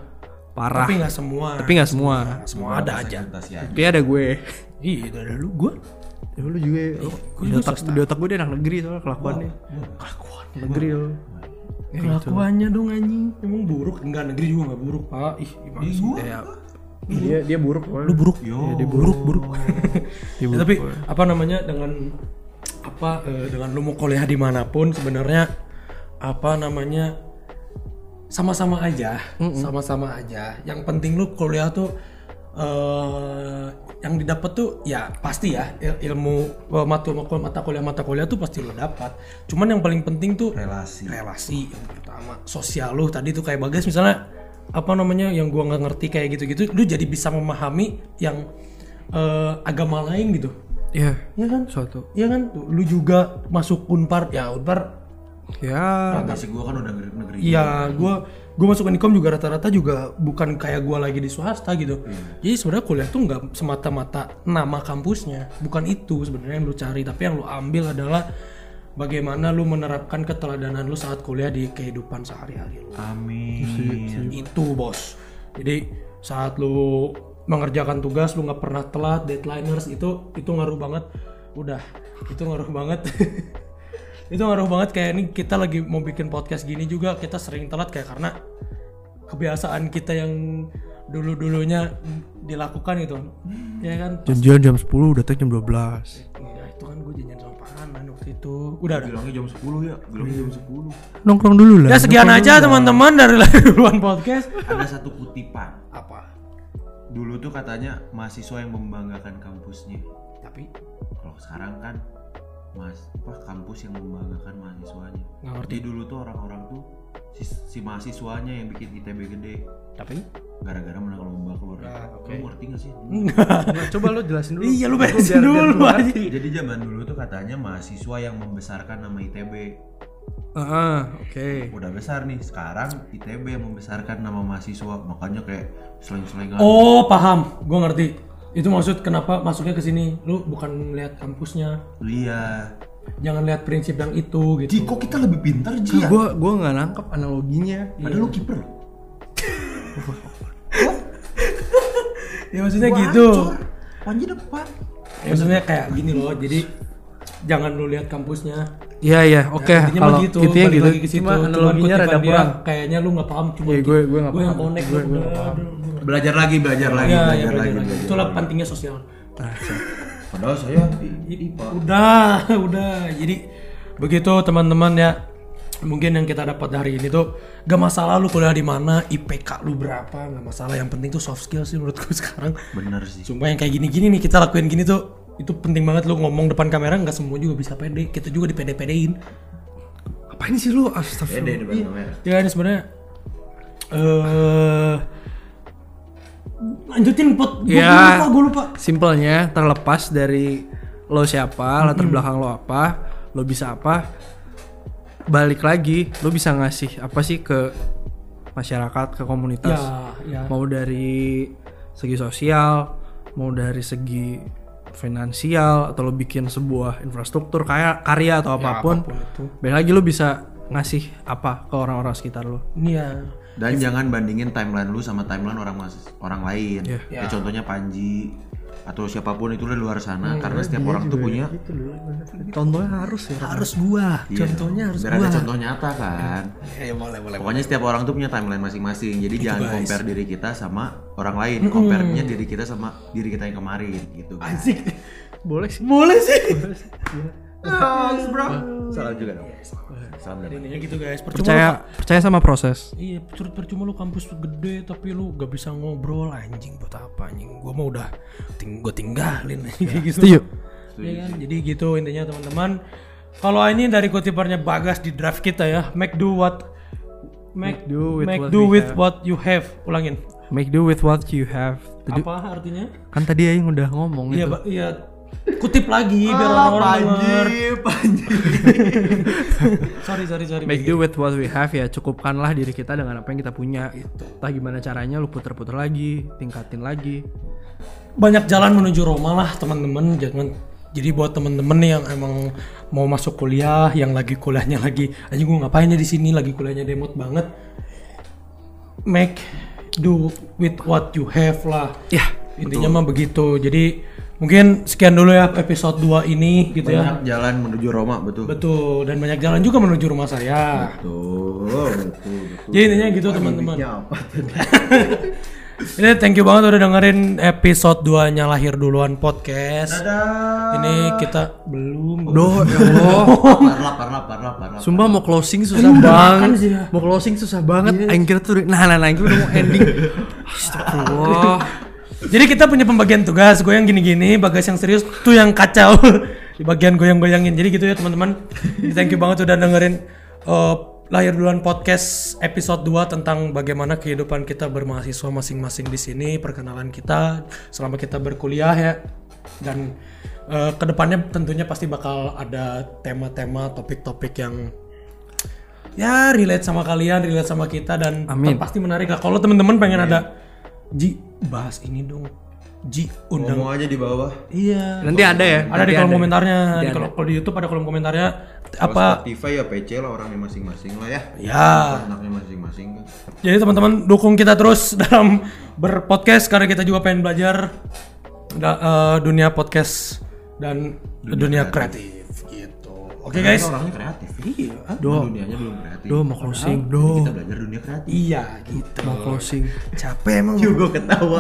[SPEAKER 3] parah.
[SPEAKER 1] Tapi gak semua
[SPEAKER 3] Tapi nggak semua.
[SPEAKER 1] Semua ada aja
[SPEAKER 2] Presentasi aja.
[SPEAKER 3] Kayak ada gue.
[SPEAKER 1] Iya gak ada lu, gua
[SPEAKER 3] Ya lu juga lu, di, otak, di otak gue dia anak negeri soalnya kelakuannya. Kelakuannya negeri lu.
[SPEAKER 1] Kelakuannya dong anjing. Emang buruk? Enggak, negeri juga enggak buruk, Pak. Ih, gimana sih?
[SPEAKER 3] Ya, dia dia buruk
[SPEAKER 1] Lu buruk.
[SPEAKER 2] Yo.
[SPEAKER 1] Ya, dia buruk, buruk. Ya, tapi apa namanya dengan apa eh, dengan lu mau kuliah dimanapun sebenarnya apa namanya sama-sama aja, sama-sama aja. Yang penting lu kuliah tuh eh yang didapat tuh ya pasti ya il- ilmu eh, mata mata kuliah mata kuliah tuh pasti lu dapat. Cuman yang paling penting tuh
[SPEAKER 2] relasi
[SPEAKER 1] relasi yang pertama sosial lu tadi tuh kayak bagas misalnya apa namanya yang gua nggak ngerti kayak gitu-gitu lu jadi bisa memahami yang eh, agama lain gitu
[SPEAKER 3] Iya,
[SPEAKER 1] ya kan
[SPEAKER 3] suatu.
[SPEAKER 1] ya kan Tuh, lu juga masuk unpar ya unpar
[SPEAKER 3] Ya,
[SPEAKER 2] relasi gue kan udah negeri negeri
[SPEAKER 1] ya gua gua masuk Unicom juga rata-rata juga bukan kayak gua lagi di swasta gitu jadi sebenarnya kuliah tuh nggak semata-mata nama kampusnya bukan itu sebenarnya yang lu cari tapi yang lu ambil adalah bagaimana lu menerapkan keteladanan lu saat kuliah di kehidupan sehari-hari lu
[SPEAKER 2] amin
[SPEAKER 1] itu bos jadi saat lu mengerjakan tugas lu nggak pernah telat deadlineers itu itu ngaruh banget udah itu ngaruh banget itu ngaruh banget kayak ini kita lagi mau bikin podcast gini juga kita sering telat kayak karena kebiasaan kita yang dulu dulunya dilakukan gitu ya kan
[SPEAKER 3] janjian jam 10 datang jam 12
[SPEAKER 1] ya, itu kan gue janjian sama pahanan waktu itu udah udah
[SPEAKER 2] bilangnya jam 10 ya bilangnya jam 10
[SPEAKER 3] nongkrong dulu
[SPEAKER 1] ya sekian aja teman-teman dari Lahiruan Podcast
[SPEAKER 2] ada satu kutipan
[SPEAKER 1] apa
[SPEAKER 2] dulu tuh katanya mahasiswa yang membanggakan kampusnya
[SPEAKER 1] tapi
[SPEAKER 2] kalau sekarang kan mas apa kampus yang membanggakan mahasiswanya
[SPEAKER 1] nggak ngerti
[SPEAKER 2] jadi dulu tuh orang-orang tuh si, si mahasiswanya yang bikin ITB gede
[SPEAKER 1] tapi
[SPEAKER 2] gara-gara menang lomba keluar
[SPEAKER 1] Nah, oke.
[SPEAKER 2] Lu ngerti gak sih
[SPEAKER 3] coba lu jelasin dulu
[SPEAKER 1] Iya, lu
[SPEAKER 3] Gua
[SPEAKER 1] beresin
[SPEAKER 3] biar- biar
[SPEAKER 1] dulu,
[SPEAKER 3] gua
[SPEAKER 1] anjing.
[SPEAKER 3] ngerti.
[SPEAKER 2] jadi zaman dulu tuh katanya mahasiswa yang membesarkan nama ITB
[SPEAKER 3] Ah, oke
[SPEAKER 2] udah besar nih sekarang ITB yang membesarkan nama mahasiswa makanya kayak seleng-selengan
[SPEAKER 1] Oh paham, gue ngerti. Itu maksud kenapa masuknya ke sini? Lu bukan melihat kampusnya,
[SPEAKER 2] iya
[SPEAKER 1] jangan lihat prinsip yang itu
[SPEAKER 2] Ji,
[SPEAKER 1] gitu.
[SPEAKER 2] kok kita lebih pintar Ji ya?
[SPEAKER 3] Kan gua gua nggak nangkep analoginya
[SPEAKER 2] Padahal lu kiper loh.
[SPEAKER 1] Ya maksudnya gitu.
[SPEAKER 2] Panji depan.
[SPEAKER 1] Ya, maksudnya kayak gini loh. Jadi jangan lu lihat kampusnya.
[SPEAKER 3] iya iya oke
[SPEAKER 1] Intinya mah
[SPEAKER 3] kalau
[SPEAKER 1] gitu,
[SPEAKER 3] intinya
[SPEAKER 1] balik
[SPEAKER 3] gitu
[SPEAKER 1] lagi ke situ.
[SPEAKER 3] cuma
[SPEAKER 1] Cuman
[SPEAKER 3] analoginya
[SPEAKER 1] kutipan
[SPEAKER 3] rada
[SPEAKER 1] dia,
[SPEAKER 3] kurang
[SPEAKER 1] Kayaknya lu nggak paham cuma
[SPEAKER 3] Iya, gue- gue nggak
[SPEAKER 1] yang
[SPEAKER 3] paham.
[SPEAKER 1] connect
[SPEAKER 3] Gue-
[SPEAKER 1] lu.
[SPEAKER 3] gue
[SPEAKER 1] Udah,
[SPEAKER 3] nggak paham.
[SPEAKER 1] aduh, udah.
[SPEAKER 2] Belajar lagi, belajar lagi,
[SPEAKER 1] Ya, ya,
[SPEAKER 2] belajar
[SPEAKER 1] belajar
[SPEAKER 2] lagi.
[SPEAKER 1] lagi.
[SPEAKER 2] belajar
[SPEAKER 1] Itulah
[SPEAKER 2] lagi.
[SPEAKER 1] pentingnya sosial.
[SPEAKER 2] Padahal saya IPA.
[SPEAKER 1] Udah, udah. Jadi begitu teman-teman ya. Mungkin yang kita dapat dari ini tuh gak masalah lu kuliah di mana, IPK lu berapa, gak masalah. Yang penting tuh soft skill sih menurutku sekarang.
[SPEAKER 2] Bener sih.
[SPEAKER 1] Sumpah yang kayak gini-gini nih kita lakuin gini tuh itu penting banget lu ngomong depan kamera nggak semua juga bisa pede. Kita juga dipede-pedein.
[SPEAKER 3] ngapain sih lu
[SPEAKER 2] Beda
[SPEAKER 3] astagfirullah
[SPEAKER 2] di Bandung ya.
[SPEAKER 1] Ya ini sebenarnya eh lanjutin pot gue
[SPEAKER 3] Ya.
[SPEAKER 1] lupa gue lupa.
[SPEAKER 3] simpelnya terlepas dari lo siapa latar belakang lo apa lo bisa apa balik lagi lo bisa ngasih apa sih ke masyarakat ke
[SPEAKER 1] Ya,
[SPEAKER 3] komunitas
[SPEAKER 1] ya.
[SPEAKER 3] mau dari segi sosial, mau dari segi finansial atau lo bikin sebuah infrastruktur kayak karya atau Ya, apapun,
[SPEAKER 1] apapun itu.
[SPEAKER 3] balik lagi lo bisa ngasih apa ke orang-orang sekitar lo.
[SPEAKER 1] Ini ya.
[SPEAKER 2] Dan jangan bandingin timeline lu sama timeline orang mas- orang lain.
[SPEAKER 3] Iya.
[SPEAKER 2] Ya, contohnya Panji atau siapapun itu di luar sana karena setiap orang tuh punya
[SPEAKER 3] Contohnya harus ya.
[SPEAKER 1] Harus gua.
[SPEAKER 2] Iya,
[SPEAKER 1] Contohnya harus
[SPEAKER 2] biar
[SPEAKER 1] gua.
[SPEAKER 2] ada contoh nyata kan.
[SPEAKER 1] Ya, boleh, boleh.
[SPEAKER 2] Pokoknya setiap orang tuh punya timeline masing-masing. Jadi jangan compare diri kita sama orang lain. Compare-nya diri kita sama diri kita yang kemarin gitu kan.
[SPEAKER 1] Asik.
[SPEAKER 3] Boleh sih.
[SPEAKER 1] Boleh sih.
[SPEAKER 2] Thanks, bro. Salam juga dong. Salam dari
[SPEAKER 1] Intinya gitu guys. Percuma lu-
[SPEAKER 3] Percaya percaya sama proses.
[SPEAKER 1] Iya, percuma, percuma lu kampus gede tapi lu gak bisa ngobrol anjing buat apa anjing. Gua mau udah ting gua tinggalin kayak gitu.
[SPEAKER 3] Setuju.
[SPEAKER 1] Iya kan? Jadi gitu intinya teman-teman. Kalau ini dari kutipannya Bagas di draft kita ya, make do what make, do with, make what, do
[SPEAKER 3] we
[SPEAKER 1] with what you have. Ulangin.
[SPEAKER 3] Make do with what you have. Tadi-
[SPEAKER 1] Apa artinya?
[SPEAKER 3] Kan tadi Aing udah ngomong
[SPEAKER 1] Iya,
[SPEAKER 3] itu.
[SPEAKER 1] Ba- iya. Kutip lagi biar orang-orang denger.
[SPEAKER 2] Panji.
[SPEAKER 1] Sorry, sorry, sorry.
[SPEAKER 3] Make do with what we have ya cukupkanlah diri kita dengan apa yang kita punya.
[SPEAKER 1] Gitu.
[SPEAKER 3] Entah gimana caranya lu puter-puter lagi, tingkatin lagi.
[SPEAKER 1] banyak jalan menuju Roma lah teman-teman jangan jadi buat teman-teman yang emang mau masuk kuliah yang lagi kuliahnya lagi anjing gue ngapain ya di sini lagi kuliahnya demot banget make do with what you have lah
[SPEAKER 3] Ya.
[SPEAKER 1] intinya mah begitu jadi mungkin sekian dulu ya episode 2 ini gitu ya
[SPEAKER 2] Banyak jalan menuju Roma, betul.
[SPEAKER 1] betul dan banyak jalan juga menuju rumah saya
[SPEAKER 2] Betul, betul, betul.
[SPEAKER 1] jadi intinya gitu teman-teman
[SPEAKER 2] Ya, apa tadi?
[SPEAKER 1] ini thank you banget udah dengerin episode 2 nya lahir duluan podcast
[SPEAKER 2] Dadah.
[SPEAKER 1] ini kita belum
[SPEAKER 3] Doh, ya
[SPEAKER 1] Oh.
[SPEAKER 3] Allah.
[SPEAKER 2] Lapar, lapar, lapar, lapar. lapar.
[SPEAKER 3] Sumpah mau closing susah
[SPEAKER 1] makan
[SPEAKER 3] banget.
[SPEAKER 1] sih ya. Iya.
[SPEAKER 3] Mau closing susah banget. Aing kira tuh nah nah nah aing kira udah mau ending. Astagfirullah.
[SPEAKER 1] Jadi kita punya pembagian tugas, gue yang gini-gini, bagas yang serius, tuh yang kacau di bagian goyang-goyangin. Jadi gitu ya teman-teman. Thank you banget udah dengerin eh, lahir duluan podcast episode 2 tentang bagaimana kehidupan kita bermahasiswa masing-masing di sini, perkenalan kita selama kita berkuliah ya. Dan eh, kedepannya tentunya pasti bakal ada tema-tema, topik-topik yang ya relate sama kalian, relate sama kita dan
[SPEAKER 3] Amin.
[SPEAKER 1] pasti menarik lah. Kalau teman-teman pengen ada Ji bahas ini dong. Ji undang.
[SPEAKER 2] Ngomong aja di bawah.
[SPEAKER 1] Iya.
[SPEAKER 3] Nanti ada ya.
[SPEAKER 1] Ada di kolom komentarnya. Di kolom kalau di YouTube ada kolom komentarnya apa?
[SPEAKER 2] Kalau Spotify ya PC lah orangnya masing-masing lah ya.
[SPEAKER 1] Ya.
[SPEAKER 2] Anaknya masing-masing kan.
[SPEAKER 1] Jadi teman-teman dukung kita terus dalam berpodcast karena kita juga pengen belajar da- eh, dunia podcast dan dunia, kreatif. gitu. Oke guys. ah,
[SPEAKER 2] kan Orangnya kreatif. Iya.
[SPEAKER 3] Doh,
[SPEAKER 2] Dunianya belum kreatif.
[SPEAKER 3] doh mau closing, doh
[SPEAKER 2] Kita belajar dunia kreatif.
[SPEAKER 1] Iya gitu.
[SPEAKER 3] mau closing,
[SPEAKER 1] Capek emang.
[SPEAKER 2] Juga ketawa.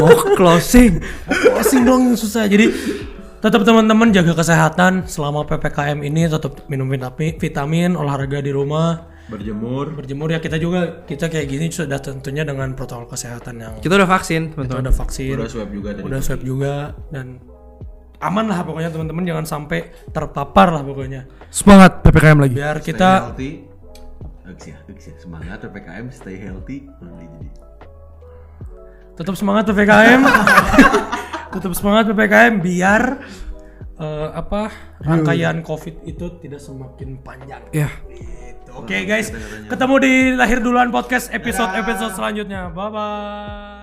[SPEAKER 3] mau closing.
[SPEAKER 1] Pusing dong susah. Jadi tetap teman-teman jaga kesehatan selama PPKM ini tetap minum vitamin, vitamin, olahraga di rumah,
[SPEAKER 2] Berjemur.
[SPEAKER 1] berjemur ya kita juga kita kayak gini sudah tentunya dengan protokol kesehatan yang
[SPEAKER 3] Kita udah vaksin, teman-teman.
[SPEAKER 1] ada vaksin,
[SPEAKER 2] Udah swab juga tadi.
[SPEAKER 1] udah swab juga dan aman lah pokoknya teman-teman jangan sampai terpapar lah pokoknya.
[SPEAKER 3] Semangat PPKM lagi.
[SPEAKER 1] Biar
[SPEAKER 2] Stay
[SPEAKER 1] kita
[SPEAKER 2] healthy. Aksia, aksia. ya. Semangat PPKM stay healthy. Nanti jadi.
[SPEAKER 1] tetap semangat PPKM. tetap semangat PPKM biar eh, apa rangkaian Covid itu tidak semakin panjang.
[SPEAKER 3] Ya.
[SPEAKER 1] Gitu. Oke guys, ketemu di lahir duluan podcast episode episode selanjutnya. Bye bye.